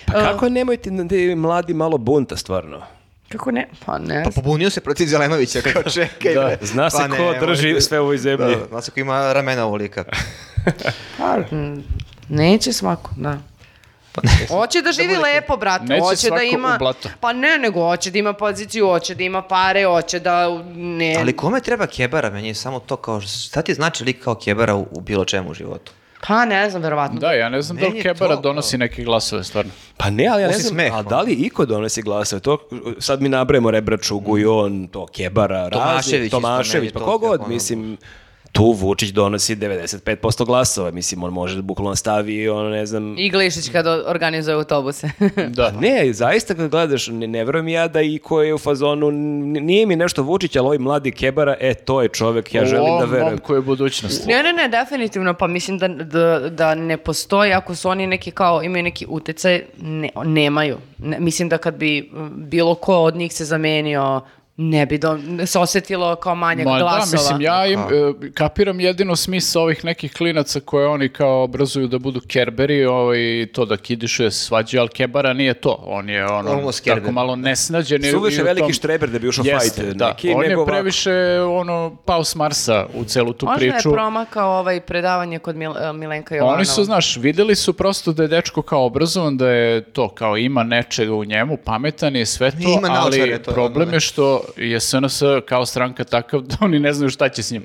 A: Pa
B: Uh,
A: kako nemojte da je mladi malo bunta, stvarno?
B: kako ne? Pa ne.
D: Pa pobunio se protiv Zelenovića, kao čekaj.
A: Da,
D: bre.
A: zna se
D: Pa
A: ko
D: nemoj.
A: drži sve u ovoj zemlji.
D: Da, zna se ko ima ramena ovolika.
B: Pa, mm, neće svako, da.
D: Pa ne.
B: Hoće da živi lepo, brate.
C: Neće
B: hoće da
C: svako
B: ima...
C: u blato.
B: Pa ne, nego hoće da ima poziciju, hoće da ima pare, hoće da... Ne,
D: Ali kome treba kebara? Meni je samo to kao, šta ti znači lik kao kebara u, u bilo čemu u životu?
B: Pa ne znam, verovatno.
C: Da, ja ne znam da
D: Meni
C: li
D: je
C: kebara
D: to-
C: donosi neke glasove, stvarno.
A: Pa ne, ali ja ne
D: Osim
A: znam,
D: smeh,
A: a
D: ono.
A: da li iko donese glasove? To, sad mi nabrajemo Rebraču, Gujon, to Kebara,
D: Tomašević
A: Razi,
D: isto, meni
A: Tomašević,
D: je
A: pa
D: to
A: kogod,
D: ono-
A: mislim, tu Vučić donosi 95% glasova, mislim, on može da bukvalno stavi, ono, ne znam...
B: I Glišić kad o- organizuje autobuse.
C: Da.
A: Ne, zaista kad gledaš, ne, ne verujem ja da i ko je u fazonu, n- nije mi nešto Vučić, ali ovaj mladi Kebara, e, to je čovek, ja želim da
C: Ovom
A: verujem.
C: momku je budućnost.
B: ne, ne, ne, definitivno, pa mislim da, da, da ne postoji, ako su oni neki kao, imaju neki utjecaj, ne, nemaju. Ne- mislim da kad bi m, bilo ko od njih se zamenio, ne bi do, se osetilo kao manjak
C: Ma
B: glasova.
C: da, mislim, ja im, e, kapiram jedino smisao ovih nekih klinaca koje oni kao obrazuju da budu kerberi, ovaj, to da kidišuje se svađa, ali kebara nije to. On je ono,
D: Almost
C: tako
D: kerber.
C: malo nesnađen. i-
A: Suviše
C: i u
A: veliki
C: tom-
A: štreber da bi ušao
C: Jeste,
A: fajt,
C: da.
A: neki,
C: on je
A: nego ovako.
C: previše ono, pao s Marsa u celu tu
B: Možda
C: priču. Pa
B: je promakao ovaj predavanje kod Mil- e, Milenka Jovanova.
C: Oni su, znaš, videli su prosto da je dečko kao obrazovan, da je to kao ima nečega u njemu, pametan je sve to,
D: Ima naočare,
C: ali
D: to je
C: problem je
D: ono, ne.
C: što je SNS kao stranka takav da oni ne znaju šta će s njim.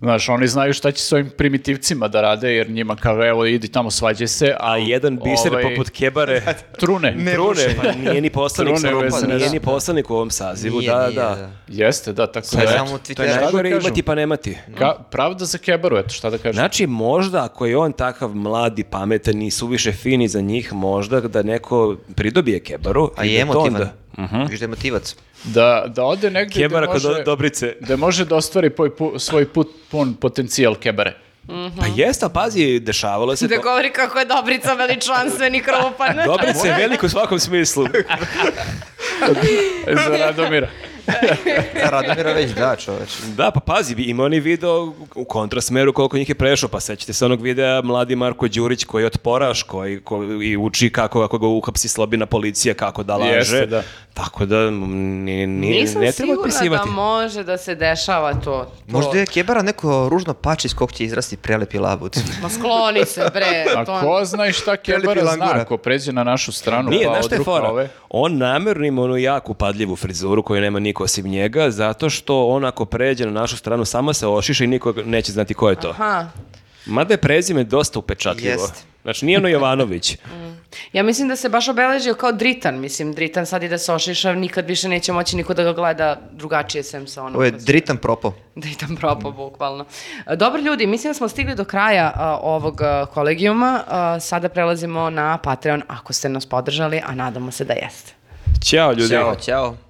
C: Znaš, oni znaju šta će s ovim primitivcima da rade, jer njima kao, evo, idi tamo, svađaj se.
A: A jedan biser
C: ovaj,
A: poput Kebare...
C: Trune.
A: Trune, pa nije ni poslanik,
C: Trune
A: sa ovom-
C: bez
A: nije
C: veze.
A: ni poslanik u ovom sazivu,
D: Nije,
A: da,
D: nije,
A: da.
C: Jeste, da, tako
D: Sad
C: da.
D: samo
C: eto,
D: Twitter-
C: to je
D: Šta
A: Najgore
C: kažem.
A: imati pa nemati.
C: Ka- pravda za kebaru, eto, šta da kažem.
A: Znači, možda ako je on takav mladi, pametan i suviše fini za njih, možda da neko pridobije kebaru.
D: A
A: i
D: Pa je
A: da Mhm. to
D: emotivan.
A: onda-
D: Viš da je motivac.
C: Da, da ode negdje gde
A: Kebara kod
C: može-
A: Dobrice.
C: da može da ostvari poj- pu- svoj put pun potencijal kebare.
A: Pa jeste, ali pazi, dešavalo se
B: Mhm. Da
A: to.
B: govori kako je Dobrica veličanstveni krupan.
A: Dobrica je velik u svakom smislu.
C: Za Radomira.
D: Da, Radomira već da, čoveč.
A: Da, pa pazi, ima oni video u kontrasmeru koliko njih je prešao, pa sećate se onog videa mladi Marko Đurić koji je otporaš, koji ko, i uči kako, ako ga uhapsi slobina policija, kako da laže.
C: Jeste, da.
A: Tako da m, ni, ni-
B: Nisam
A: ne treba
B: sigurna da
A: opisivati.
B: može da se dešava to. to.
D: Možda je kebara neko ružno pače iz kog će izrasti prelepi labud.
B: Ma skloni se, bre.
C: A
B: to-
C: ko zna i šta kebara
D: Prelipi
C: zna
D: langura.
C: ako pređe na našu stranu
A: Nije,
C: pa
A: znaš šta je
C: odruka
A: fora?
C: ove.
A: On namerno ima onu jako padljivu frizuru koju nema niko osim njega, zato što on ako pređe na našu stranu samo se ošiša i niko neće znati ko je to.
B: Aha.
A: Mada je prezime dosta upečatljivo.
D: Jest.
A: Znači nije ono Jovanović.
B: Ja mislim da se baš obeležio kao dritan. Mislim, dritan sad i da se ošiša, nikad više neće moći niko da ga gleda drugačije sem sa onom.
D: Ovo je
B: ko se-
D: dritan propo.
B: Dritan propo, bukvalno. E, Dobro ljudi, mislim da smo stigli do kraja a, ovog a, kolegijuma. A, Sada prelazimo na Patreon ako ste nas podržali, a nadamo se da jeste.
A: Ćao ljudi.
D: Ćao.